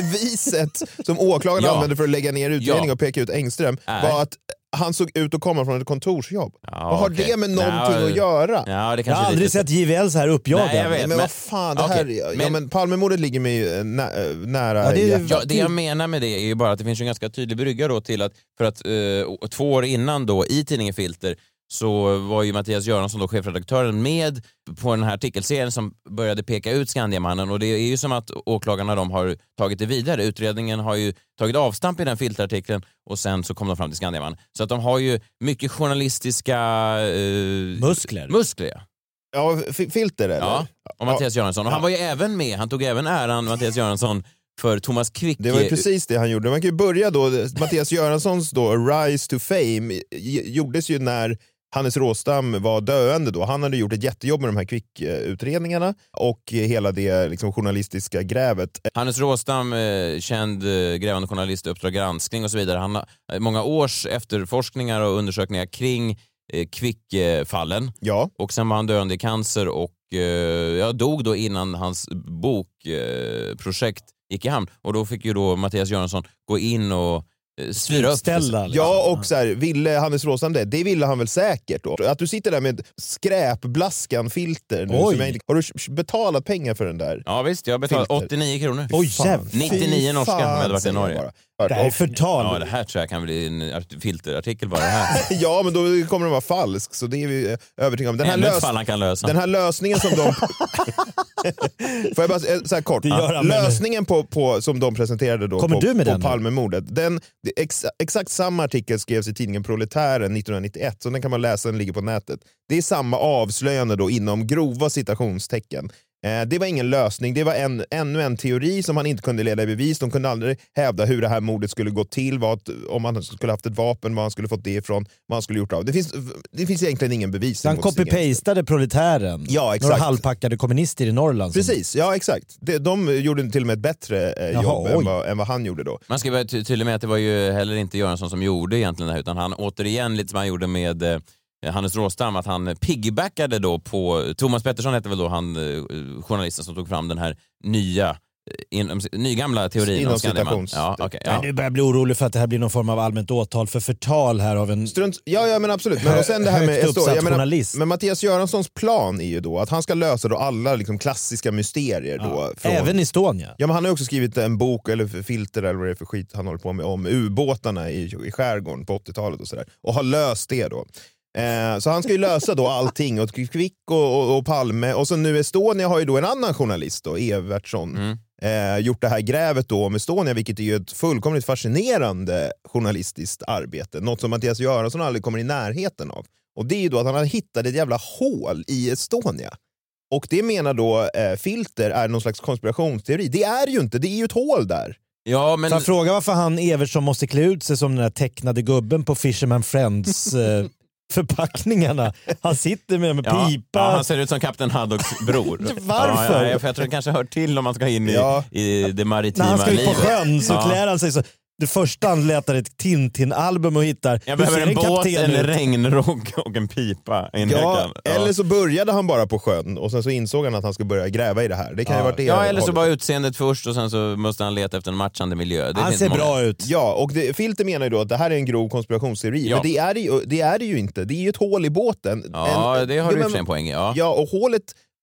[SPEAKER 4] beviset som åklagaren
[SPEAKER 2] Ja.
[SPEAKER 4] använde för att lägga ner utredningen
[SPEAKER 2] Ja.
[SPEAKER 4] och peka ut Engström
[SPEAKER 2] Nej.
[SPEAKER 4] var att han såg ut att komma från ett kontorsjobb. Vad har
[SPEAKER 2] okej.
[SPEAKER 4] det med någonting
[SPEAKER 2] Ja,
[SPEAKER 4] att göra?
[SPEAKER 2] Ja, det
[SPEAKER 3] Jag
[SPEAKER 2] kanske
[SPEAKER 3] har
[SPEAKER 2] är
[SPEAKER 3] aldrig
[SPEAKER 2] lite-
[SPEAKER 3] sett JVL så här uppjagad.
[SPEAKER 2] Nej, jag vet.
[SPEAKER 4] men,
[SPEAKER 2] men-
[SPEAKER 4] vad fan, det
[SPEAKER 2] okej,
[SPEAKER 4] här, ja,
[SPEAKER 2] men-
[SPEAKER 4] men, Palmemordet ligger mig ju, eh, nä, eh, nära
[SPEAKER 3] Ja, det är ju-
[SPEAKER 4] hjärtat.
[SPEAKER 2] Ja, det jag menar med det är ju bara att det finns ju en ganska tydlig brygga då till att, för att eh, o- två år innan då i tidningen Filter så var ju Mattias Göransson då chefredaktören med på den här artikelserien som började peka ut Skandiamannen och det är ju som att åklagarna de har tagit det vidare. Utredningen har ju tagit avstamp i den filterartikeln och sen så kom de fram till Skandiamannen. Så att de har ju mycket journalistiska eh,
[SPEAKER 3] Muskler.
[SPEAKER 2] muskler ja.
[SPEAKER 4] Ja, fi- filter eller?
[SPEAKER 2] Ja, och Mattias Göransson. Och han var ju även med, han tog även äran, Mattias Göransson, för Thomas Quick.
[SPEAKER 4] Det var ju precis det han gjorde. Man kan ju börja då, Mattias Göranssons då Rise to Fame j- gjordes ju när Hannes Råstam var döende då. Han hade gjort ett jättejobb med de här Quick-utredningarna och hela det liksom, journalistiska grävet.
[SPEAKER 2] Hannes Råstam, eh, känd eh, grävande journalist, Uppdrag granskning och så vidare. Han har eh, många års efterforskningar och undersökningar kring eh, Quick-fallen.
[SPEAKER 4] Ja.
[SPEAKER 2] Och sen var han döende i cancer och eh, ja, dog då innan hans bokprojekt eh, projekt gick i hamn. Och då fick ju då Mattias Göransson gå in och eh, styra upp.
[SPEAKER 3] Ställa, liksom.
[SPEAKER 4] Ja, och så här, ville Hannes Råstam det? Det ville han väl säkert då? Att du sitter där med skräpblaskan-filter nu.
[SPEAKER 3] Oj.
[SPEAKER 4] Som jag inte, har du sh- betalat pengar för den där?
[SPEAKER 2] Ja visst, jag betalade
[SPEAKER 4] Filter.
[SPEAKER 2] 89 kronor.
[SPEAKER 3] Oj, jävlar.
[SPEAKER 2] 99 norska om jag hade varit i
[SPEAKER 4] säger jag
[SPEAKER 2] Norge.
[SPEAKER 4] bara. Hört.
[SPEAKER 3] Det här är förtal.
[SPEAKER 2] Ja, det här tror jag kan bli en art- filterartikel bara. Det här.
[SPEAKER 4] Ja, men då kommer den vara falsk, så det är vi eh, övertygade om. Den här,
[SPEAKER 2] Ännu ett
[SPEAKER 4] lös-
[SPEAKER 2] fall han kan lösa.
[SPEAKER 4] den här lösningen som de... Får jag bara eh, så här kort?
[SPEAKER 3] Det gör han, men-
[SPEAKER 4] lösningen på, på, som de presenterade då
[SPEAKER 3] Kommer
[SPEAKER 4] på,
[SPEAKER 3] du med
[SPEAKER 4] på
[SPEAKER 3] den nu?
[SPEAKER 4] Palmemordet, den, det- ex, exakt samma artikel skrevs i tidningen Proletären 1991, så den kan man läsa, den ligger på nätet. Det är samma avslöjande då inom grova citationstecken. Eh, Det var ingen lösning, det var en, ännu en teori som han inte kunde leda i bevis. De kunde aldrig hävda hur det här mordet skulle gå till, vad, om han skulle haft ett vapen, var han skulle fått det ifrån, vad han skulle gjort av det. finns, det finns egentligen ingen bevis.
[SPEAKER 3] Så han
[SPEAKER 4] mot Stig Engström.
[SPEAKER 3] copy-pastade proletären.
[SPEAKER 4] Ja, exakt.
[SPEAKER 3] Några halvpackade kommunister i Norrland. som-
[SPEAKER 4] Precis, ja exakt. De, de gjorde till och med ett bättre eh,
[SPEAKER 3] Jaha,
[SPEAKER 4] jobb än
[SPEAKER 3] oj.
[SPEAKER 4] vad, än vad han gjorde då.
[SPEAKER 2] Man ska vara ty- tydlig med att det var ju heller inte Göransson som gjorde egentligen det här utan han återigen lite som han gjorde med eh, Hannes Råstam att han piggybackade då på Thomas Pettersson hette väl då han eh, journalisten som tog fram den här nya eh, inom, nygamla teorin
[SPEAKER 3] Inom
[SPEAKER 2] om Skandiaman. Ja,
[SPEAKER 3] citations-
[SPEAKER 2] okej,
[SPEAKER 3] Nej,
[SPEAKER 2] ja.
[SPEAKER 3] Nu börjar jag bli orolig för att det här blir någon form av allmänt åtal för förtal här av en...
[SPEAKER 4] Strunt, ja, ja men absolut. Men, och sen det här med
[SPEAKER 3] Högt
[SPEAKER 4] Estonia,
[SPEAKER 3] uppsatt
[SPEAKER 4] jag menar,
[SPEAKER 3] journalist.
[SPEAKER 4] men Mattias Göranssons plan är ju då att han ska lösa då alla liksom klassiska mysterier. Då från,
[SPEAKER 3] Även Estonia.
[SPEAKER 4] Ja, men han har ju också skrivit en bok, eller filter eller vad det är för skit han håller på med, om ubåtarna i, i skärgården på 80-talet och sådär. Och har löst det då. Eh, så han ska ju lösa då allting åt Kvick och, och, och Palme. Och så nu Estonia har ju då en annan journalist, då, Evertsson, eh, gjort det här grävet då om Estonia, vilket är ju ett fullkomligt fascinerande journalistiskt arbete. Något som Mattias Göransson aldrig kommer i närheten av. Och det är ju då att han har hittat ett jävla hål i Estonia. Och det menar då eh, Filter är någon slags konspirationsteori. Det är ju inte, det är ju ett hål där.
[SPEAKER 2] Ja, men...
[SPEAKER 3] Så han frågar varför han Evertsson måste klä ut sig som den där tecknade gubben på Fisherman Friends eh, förpackningarna. Han sitter med en
[SPEAKER 2] Ja,
[SPEAKER 3] pipa.
[SPEAKER 2] ja, han ser ut som Kapten Haddocks bror.
[SPEAKER 3] Varför?
[SPEAKER 2] Ja, ja, för jag tror det kanske hör till om man ska in i,
[SPEAKER 3] Ja.
[SPEAKER 2] i det
[SPEAKER 3] När
[SPEAKER 2] maritima
[SPEAKER 3] han ska ut på
[SPEAKER 2] livet.
[SPEAKER 3] sjön så
[SPEAKER 2] Ja.
[SPEAKER 3] klär han sig så. Det första han letar ett Tintin-album och hittar.
[SPEAKER 2] Jag
[SPEAKER 3] Hur
[SPEAKER 2] behöver
[SPEAKER 3] ser
[SPEAKER 2] en båt,
[SPEAKER 3] kapten
[SPEAKER 2] en
[SPEAKER 3] ut?
[SPEAKER 2] regnrock och en pipa. i en
[SPEAKER 4] Ja,
[SPEAKER 2] högklack.
[SPEAKER 4] Eller så började han bara på sjön och sen så insåg han att han skulle börja gräva i det här. Det kan ju ha varit det
[SPEAKER 2] ja, eller så
[SPEAKER 4] hållet.
[SPEAKER 2] bara utseendet först och sen så måste han leta efter en matchande miljö. Det finns många.
[SPEAKER 3] ut.
[SPEAKER 4] Ja, och det, Filter menar ju då att det här är en grov konspirationsteori,
[SPEAKER 2] Ja.
[SPEAKER 4] men det är, det, ju, det är det ju inte. Det är ju ett hål i båten.
[SPEAKER 2] Ja, det har du i
[SPEAKER 4] jo,
[SPEAKER 2] och
[SPEAKER 4] men-
[SPEAKER 2] för sig en poäng i, ja.
[SPEAKER 4] Ja, och hålet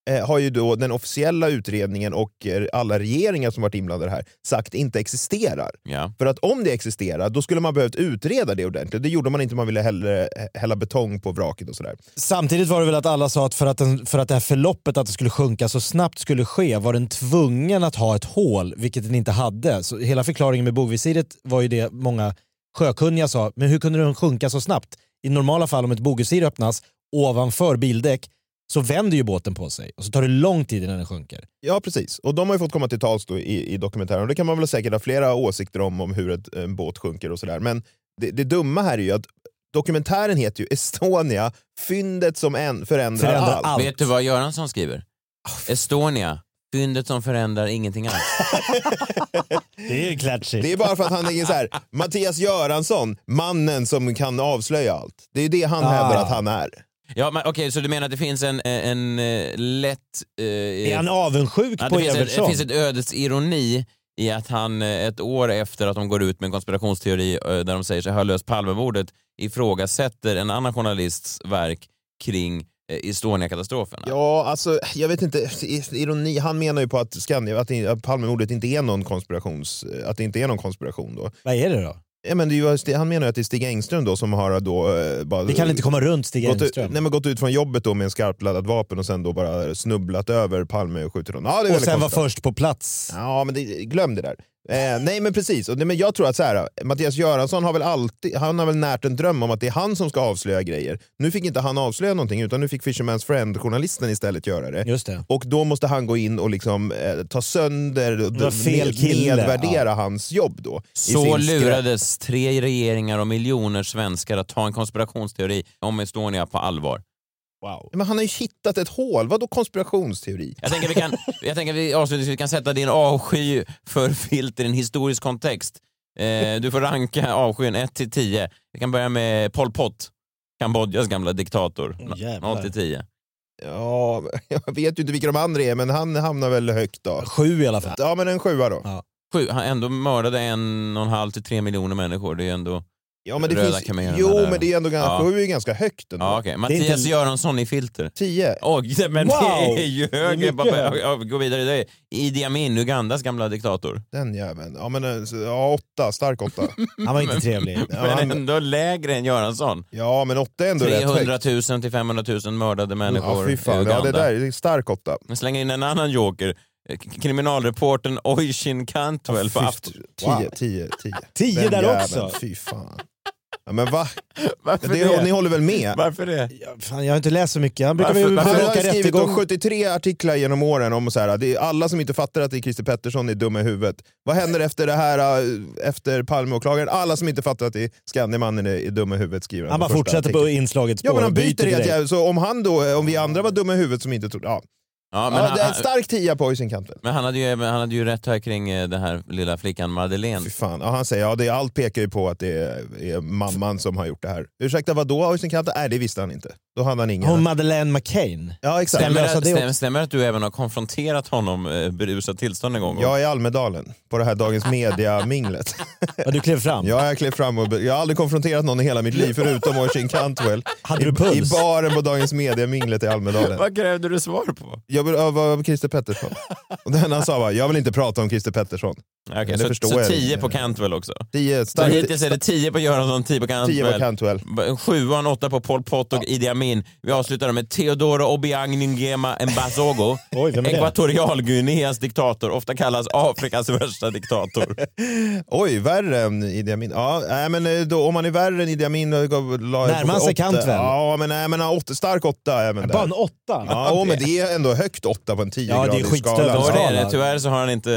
[SPEAKER 4] eh, har ju då den officiella utredningen och eh, alla regeringar som varit inblandade här sagt inte existerar.
[SPEAKER 2] Ja.
[SPEAKER 4] För att om det existerar, då skulle man behövt utreda det ordentligt. Det gjorde man inte, man ville hellre eh, hälla betong på vraket och sådär.
[SPEAKER 3] Samtidigt var det väl att alla sa att för att, den, för att det här förloppet, att det skulle sjunka så snabbt skulle ske, var den tvungen att ha ett hål, vilket den inte hade. Så hela förklaringen med bogvisiret var ju det många sjökunniga sa, men hur kunde den sjunka så snabbt? I normala fall om ett bogvisir öppnas ovanför bildäck så vänder ju båten på sig och så tar det lång tid innan den sjunker.
[SPEAKER 4] Ja, precis. Och de har ju fått komma till tals då i, i dokumentären. Och det kan man väl säkert ha flera åsikter om, om hur ett, en båt sjunker och sådär. Men det, det dumma här är ju att dokumentären heter ju Estonia, fyndet som en, förändrar, allt.
[SPEAKER 2] Vet du vad Göransson skriver? Estonia, fyndet som förändrar ingenting alls.
[SPEAKER 3] Det är klatschigt.
[SPEAKER 4] Det är bara för att han är så här, Mattias Göransson, mannen som kan avslöja allt. Det är det han
[SPEAKER 2] Ah.
[SPEAKER 4] hävdar att han är.
[SPEAKER 2] Ja, men, Okej, så du menar att det finns en, en, eh, lätt... Eh,
[SPEAKER 3] Är han avundsjuk
[SPEAKER 2] att
[SPEAKER 3] på
[SPEAKER 2] det, finns ett, det
[SPEAKER 3] Evertsson?
[SPEAKER 2] finns ett ödets ironi i att han eh, ett år efter att de går ut med en konspirationsteori eh, där de säger sig ha löst Palmemordet ifrågasätter en annan journalists verk kring eh, Estonia-katastrofen.
[SPEAKER 4] Ja, alltså jag vet inte, ironi, han menar ju på att, Skandia, att, att Palmemordet inte är någon konspirations, att det inte är någon konspiration då.
[SPEAKER 3] Vad är det då?
[SPEAKER 4] Ja, men det är ju, Sti- han menar ju att det är Stig Engström då som har då... eh, Bara,
[SPEAKER 3] Vi kan inte komma runt Stig
[SPEAKER 4] gått, ut-
[SPEAKER 3] Engström.
[SPEAKER 4] nej, men gått ut från jobbet då med en skarpladdat vapen och sen då bara snubblat över Palme och skjutit honom. Ja, det är
[SPEAKER 3] och
[SPEAKER 4] väl
[SPEAKER 3] sen var
[SPEAKER 4] konstigt.
[SPEAKER 3] först på plats.
[SPEAKER 4] Ja, men det, glöm det där. Eh, nej men precis, och, nej, men jag tror att så här, Mattias Göransson har väl alltid, han har väl närt en dröm om att det är han som ska avslöja grejer. Nu fick inte han avslöja någonting utan nu fick Fisherman's Friend-journalisten istället göra det.
[SPEAKER 3] Just det.
[SPEAKER 4] Och då måste han gå in och liksom eh, ta sönder och
[SPEAKER 3] Det var fel kille,
[SPEAKER 4] nedvärdera
[SPEAKER 3] ja.
[SPEAKER 4] hans jobb då. i
[SPEAKER 2] Så
[SPEAKER 4] sin skräck.
[SPEAKER 2] lurades tre regeringar och miljoner svenskar att ta en konspirationsteori om Estonia på allvar.
[SPEAKER 3] Wow.
[SPEAKER 4] Men han har ju hittat ett hål, vadå konspirationsteori?
[SPEAKER 2] Jag tänker vi kan, jag tänker vi avslutningsvis kan sätta din avsky för filter i en historisk kontext. Eh, du får ranka avskyn 1 till 10. Vi kan börja med Pol Pot, Kambodjas gamla diktator.
[SPEAKER 4] Mm.
[SPEAKER 3] Åh, jävlar.
[SPEAKER 2] 0 till 10.
[SPEAKER 4] Ja, jag vet ju inte vilka de andra är, men han hamnar väl högt då.
[SPEAKER 3] Sju i alla fall.
[SPEAKER 4] Ja, men en sjua då.
[SPEAKER 3] Ja,
[SPEAKER 2] Sju, han ändå mördade en och en halv till tre miljoner människor. Det är
[SPEAKER 4] Mm.
[SPEAKER 2] ändå
[SPEAKER 4] men det
[SPEAKER 2] röda
[SPEAKER 4] finns,
[SPEAKER 2] kamelerna
[SPEAKER 4] jo,
[SPEAKER 2] där.
[SPEAKER 4] men det är ändå ganska,
[SPEAKER 2] Ja.
[SPEAKER 4] sju är ganska högt ändå.
[SPEAKER 2] Ja, okay.
[SPEAKER 4] Det är inte-
[SPEAKER 2] Mattias Göransson i filter.
[SPEAKER 4] Tio.
[SPEAKER 2] Oj, men
[SPEAKER 4] Wow!
[SPEAKER 2] det är ju
[SPEAKER 4] Det är
[SPEAKER 2] högre.
[SPEAKER 4] mycket.
[SPEAKER 2] Jag- jag Gå vidare. Det är Idi Amin, Ugandas gamla diktator.
[SPEAKER 4] Den jäveln. Ja, men eh, så- ja, åtta. Stark åtta.
[SPEAKER 3] Han var inte trevlig.
[SPEAKER 4] Ja,
[SPEAKER 2] Men
[SPEAKER 4] han,
[SPEAKER 2] ändå lägre än Göransson.
[SPEAKER 4] ja, men åtta är ändå rätt
[SPEAKER 2] 300
[SPEAKER 4] högt.
[SPEAKER 2] 000 till 500 000 mördade
[SPEAKER 4] Ja,
[SPEAKER 2] människor
[SPEAKER 4] fy
[SPEAKER 2] i
[SPEAKER 4] fan.
[SPEAKER 2] Uganda.
[SPEAKER 4] Ja, det där är stark åtta.
[SPEAKER 2] Men slänger in en annan joker. Eh, k- Kriminalreportern Oisin Cantwell på
[SPEAKER 4] Fy-
[SPEAKER 2] Afton...
[SPEAKER 4] Tio, tio, tio.
[SPEAKER 3] Tio
[SPEAKER 4] Den
[SPEAKER 3] där
[SPEAKER 4] jäveln,
[SPEAKER 3] också.
[SPEAKER 4] Fy fan. Ja, men va?
[SPEAKER 3] Varför
[SPEAKER 4] det,
[SPEAKER 3] det?
[SPEAKER 4] Ni håller väl med?
[SPEAKER 2] Varför det?
[SPEAKER 3] Fan, jag har inte läst så mycket. Han brukar
[SPEAKER 4] Varför,
[SPEAKER 3] väl
[SPEAKER 4] varför har
[SPEAKER 3] bevaka
[SPEAKER 4] jag skrivit
[SPEAKER 3] rättegång.
[SPEAKER 4] om 73 artiklar genom åren om så här, det är alla som inte fattar att det är Christer Pettersson är dumma i huvudet. Vad händer efter det här, äh, efter Palmeåklagaren? Alla som inte fattar att det är Skandiamannen är, är dumma i huvudet skriver den
[SPEAKER 3] Han bara
[SPEAKER 4] första
[SPEAKER 3] fortsätter på
[SPEAKER 4] artikeln.
[SPEAKER 3] inslagets spår.
[SPEAKER 4] Ja men han
[SPEAKER 3] och
[SPEAKER 4] byter helt
[SPEAKER 3] direkt.
[SPEAKER 4] jävla, så om han då, eh, om vi andra var dumma i huvudet som inte trodde, ja.
[SPEAKER 2] Ja, men
[SPEAKER 4] ja,
[SPEAKER 2] han-
[SPEAKER 4] det är en
[SPEAKER 2] han-
[SPEAKER 4] stark tia på Oisinkanten.
[SPEAKER 2] Men han hade, ju, han hade ju rätt här kring eh, den här lilla flickan Madeleine.
[SPEAKER 4] Fy fan, ja, han säger ja, det är, allt pekar ju på att det är, är mamman som har gjort det här. Ursäkta vadå Oisinkanten? Nej det visste han inte. Då hade han ingen...
[SPEAKER 3] Hon Madeleine McCain.
[SPEAKER 4] Ja exakt. Alltså,
[SPEAKER 2] Stämmer, det, stämmer, stämmer det att du även har konfronterat honom eh, berusat tillstånd en gång?
[SPEAKER 4] Jag är i Almedalen på det här Dagens Media-minglet.
[SPEAKER 3] Ja, du klev fram?
[SPEAKER 4] Ja, jag klev fram. Och, be- jag har aldrig konfronterat någon i hela mitt liv förutom Oisin Cantwell.
[SPEAKER 3] Hade du
[SPEAKER 4] I,
[SPEAKER 3] puls?
[SPEAKER 4] I baren på Dagens Media-minglet i Almedalen.
[SPEAKER 2] Vad krävde du svar på?
[SPEAKER 4] Jag vill öva Christer Pettersson. Och den han sa var, jag vill inte prata om Christer Pettersson.
[SPEAKER 2] Okej,
[SPEAKER 4] Men det
[SPEAKER 2] så,
[SPEAKER 4] förstår
[SPEAKER 2] så
[SPEAKER 4] jag.
[SPEAKER 2] tio på Cantwell också?
[SPEAKER 4] Tio,
[SPEAKER 2] Så
[SPEAKER 4] starkt-
[SPEAKER 2] hittills är det tio på Göransson, tio på Cantwell.
[SPEAKER 4] Tio på Cantwell.
[SPEAKER 2] B- Sjuan, åtta på Pol Pot och Idi Amin. Vi avslutar med Teodoro Obiang Nguema Mbasogo.
[SPEAKER 3] Oj, vem är det?
[SPEAKER 2] Ekvatorialguineas diktator, ofta kallas Afrikas värsta diktator.
[SPEAKER 4] Oj, värre än Idi Amin. Ja, nej, men eh, då, om man är värre än Idi Amin... då gav- la jag
[SPEAKER 3] Närmar
[SPEAKER 4] på
[SPEAKER 3] sig
[SPEAKER 4] åtta.
[SPEAKER 3] Cantwell.
[SPEAKER 4] Ja, men, nej, men åtta, stark åtta även där.
[SPEAKER 3] Bara en åtta?
[SPEAKER 4] Ja, åh, men det är ändå högt åtta på en
[SPEAKER 3] Ja, det är
[SPEAKER 4] 10-gradig
[SPEAKER 3] skitstövel.
[SPEAKER 4] skala.
[SPEAKER 2] Då är det. Tyvärr så har han inte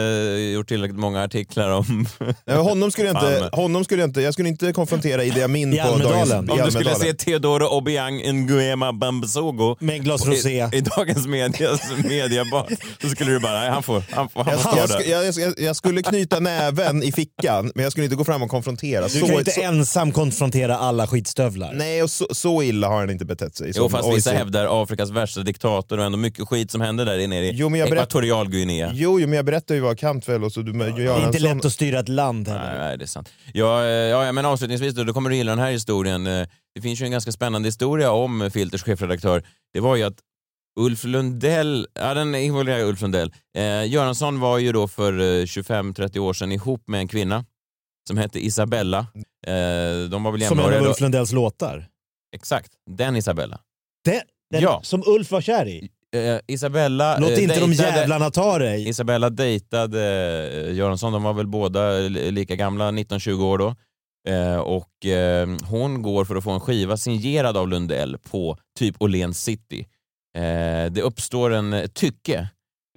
[SPEAKER 2] gjort tillräckligt många artiklar om...
[SPEAKER 4] Nej, men Eh, honom skulle jag inte,
[SPEAKER 2] Palme.
[SPEAKER 4] honom skulle jag inte, jag skulle inte konfrontera Idi Amin
[SPEAKER 3] I
[SPEAKER 4] på dagens...
[SPEAKER 3] Almedalen.
[SPEAKER 4] i
[SPEAKER 3] Om
[SPEAKER 2] Om du skulle
[SPEAKER 4] Almedalen.
[SPEAKER 2] se Teodoro Obiang Nguema Bambasogo
[SPEAKER 3] Med en glas
[SPEAKER 2] på- i-
[SPEAKER 3] rosé.
[SPEAKER 2] i dagens medias mediabar så skulle du bara, nej, han får, han får, han
[SPEAKER 4] Jag,
[SPEAKER 2] får stå
[SPEAKER 4] jag,
[SPEAKER 2] där.
[SPEAKER 4] sk- jag, jag, jag skulle knyta näven i fickan, men jag skulle inte gå fram och konfrontera.
[SPEAKER 3] Du
[SPEAKER 4] så,
[SPEAKER 3] kan ju inte
[SPEAKER 4] så,
[SPEAKER 3] ensam konfrontera alla skitstövlar.
[SPEAKER 4] Nej, och så, så illa har han inte betett sig.
[SPEAKER 2] Jo,
[SPEAKER 4] som
[SPEAKER 2] fast vissa
[SPEAKER 4] Oisin.
[SPEAKER 2] hävdar Afrikas värsta diktator och ändå mycket skit som hände där nere i
[SPEAKER 4] Jo, men jag berätt-
[SPEAKER 2] Ekvatorialguinea.
[SPEAKER 4] Jo, jo, men jag berättar ju vad Cantwell och så du, Göransson...
[SPEAKER 3] Det är inte lätt att styra ett land heller.
[SPEAKER 2] Nej, nej, det är sant. Ja, eh, ja, ja, men avslutningsvis då, då kommer du gilla den här historien. Eh, Det finns ju en ganska spännande historia om eh, Filters chefredaktör. Det var ju att Ulf Lundell, ja den involverar Ulf Lundell. Eh, Göransson var ju då för eh, 25-30 år sedan ihop med en kvinna som hette Isabella. Eh, de var väl
[SPEAKER 3] Som en
[SPEAKER 2] jämnåriga
[SPEAKER 3] av
[SPEAKER 2] då.
[SPEAKER 3] Ulf Lundells låtar.
[SPEAKER 2] Exakt, den Isabella.
[SPEAKER 3] Den, den
[SPEAKER 2] Ja.
[SPEAKER 3] Som Ulf var kär i.
[SPEAKER 2] Eh, Isabella
[SPEAKER 3] Låt
[SPEAKER 2] eh,
[SPEAKER 3] inte de
[SPEAKER 2] dejtade-
[SPEAKER 3] jävlarna ta dig.
[SPEAKER 2] Isabella dejtade eh, Göransson, de var väl båda li- lika gamla, 19-20 år då. Eh, och eh, hon går för att få en skiva signerad av Lundell på typ Åhléns city. Eh, det uppstår en eh, tycke.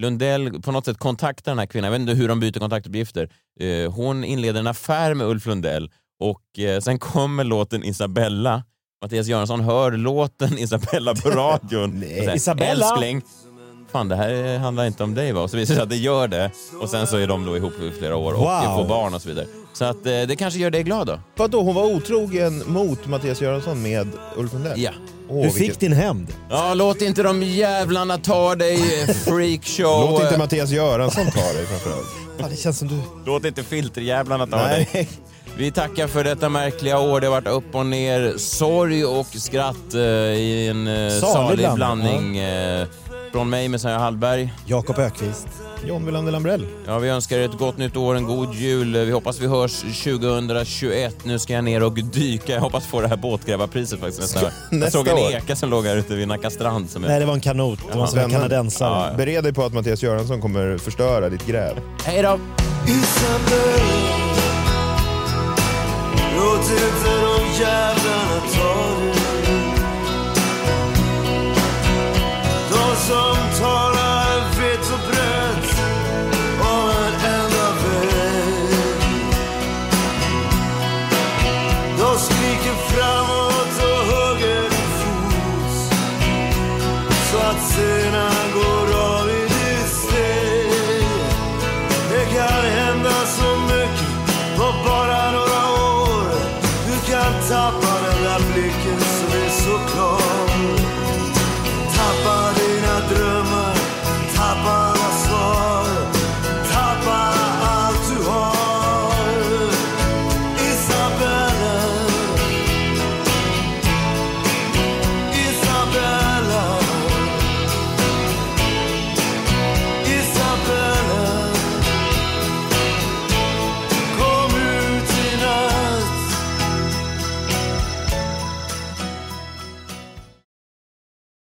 [SPEAKER 2] Lundell på något sätt kontaktar den här kvinnan, jag vet inte hur de byter kontaktuppgifter. Eh, hon inleder en affär med Ulf Lundell och eh, sen kommer låten Isabella. Mattias Göransson hör låten Isabella på radion. Och säger,
[SPEAKER 3] Isabella!
[SPEAKER 2] Älskling, fan det här handlar inte om dig va? Och så visar det sig att det gör det. Och sen så är de då ihop i flera år och
[SPEAKER 3] Wow.
[SPEAKER 2] får barn och så vidare. Så att eh, det kanske gör dig glad då?
[SPEAKER 4] Vadå, hon var otrogen mot Mattias Göransson med Ulf Lundell?
[SPEAKER 2] Ja.
[SPEAKER 4] Åh,
[SPEAKER 3] Du
[SPEAKER 4] vilket-
[SPEAKER 3] fick din hämnd.
[SPEAKER 2] Ja, låt inte de jävlarna ta dig, eh, freakshow.
[SPEAKER 4] Låt inte Mattias Göransson ta dig framförallt.
[SPEAKER 3] Fan, det känns som du...
[SPEAKER 2] Låt inte filterjävlarna ta
[SPEAKER 4] Nej.
[SPEAKER 2] dig. Vi tackar för detta märkliga år. Det har varit upp och ner, sorg och skratt eh, i en eh, salig
[SPEAKER 3] blandning,
[SPEAKER 2] blandning. eh, Från mig, Messiah Hallberg.
[SPEAKER 3] Jakob Ökvist.
[SPEAKER 4] John Wilander Lambrell.
[SPEAKER 2] Ja, vi önskar er ett gott nytt år, en god jul. Vi hoppas vi hörs 2021. Nu ska jag ner och dyka. Jag hoppas få det här båtgrävarpriset faktiskt nästa år. Jag
[SPEAKER 4] Nästa
[SPEAKER 2] såg en
[SPEAKER 4] år.
[SPEAKER 2] eka som låg här ute vid Nacka strand. Som
[SPEAKER 3] Nej,
[SPEAKER 2] är...
[SPEAKER 3] det var en kanot. Det var som en
[SPEAKER 4] Vännen.
[SPEAKER 3] kanadensare.
[SPEAKER 4] Bered dig på att Mattias Göransson kommer förstöra ditt gräv.
[SPEAKER 2] Hej då!
[SPEAKER 8] Låt inte de jävlarna ta dig De som talar vitt och brett om en enda väg De skriker framåt och hugger din fot så att senan går av i ditt steg Det kan hända så mycket på bara några år. Du kan tappa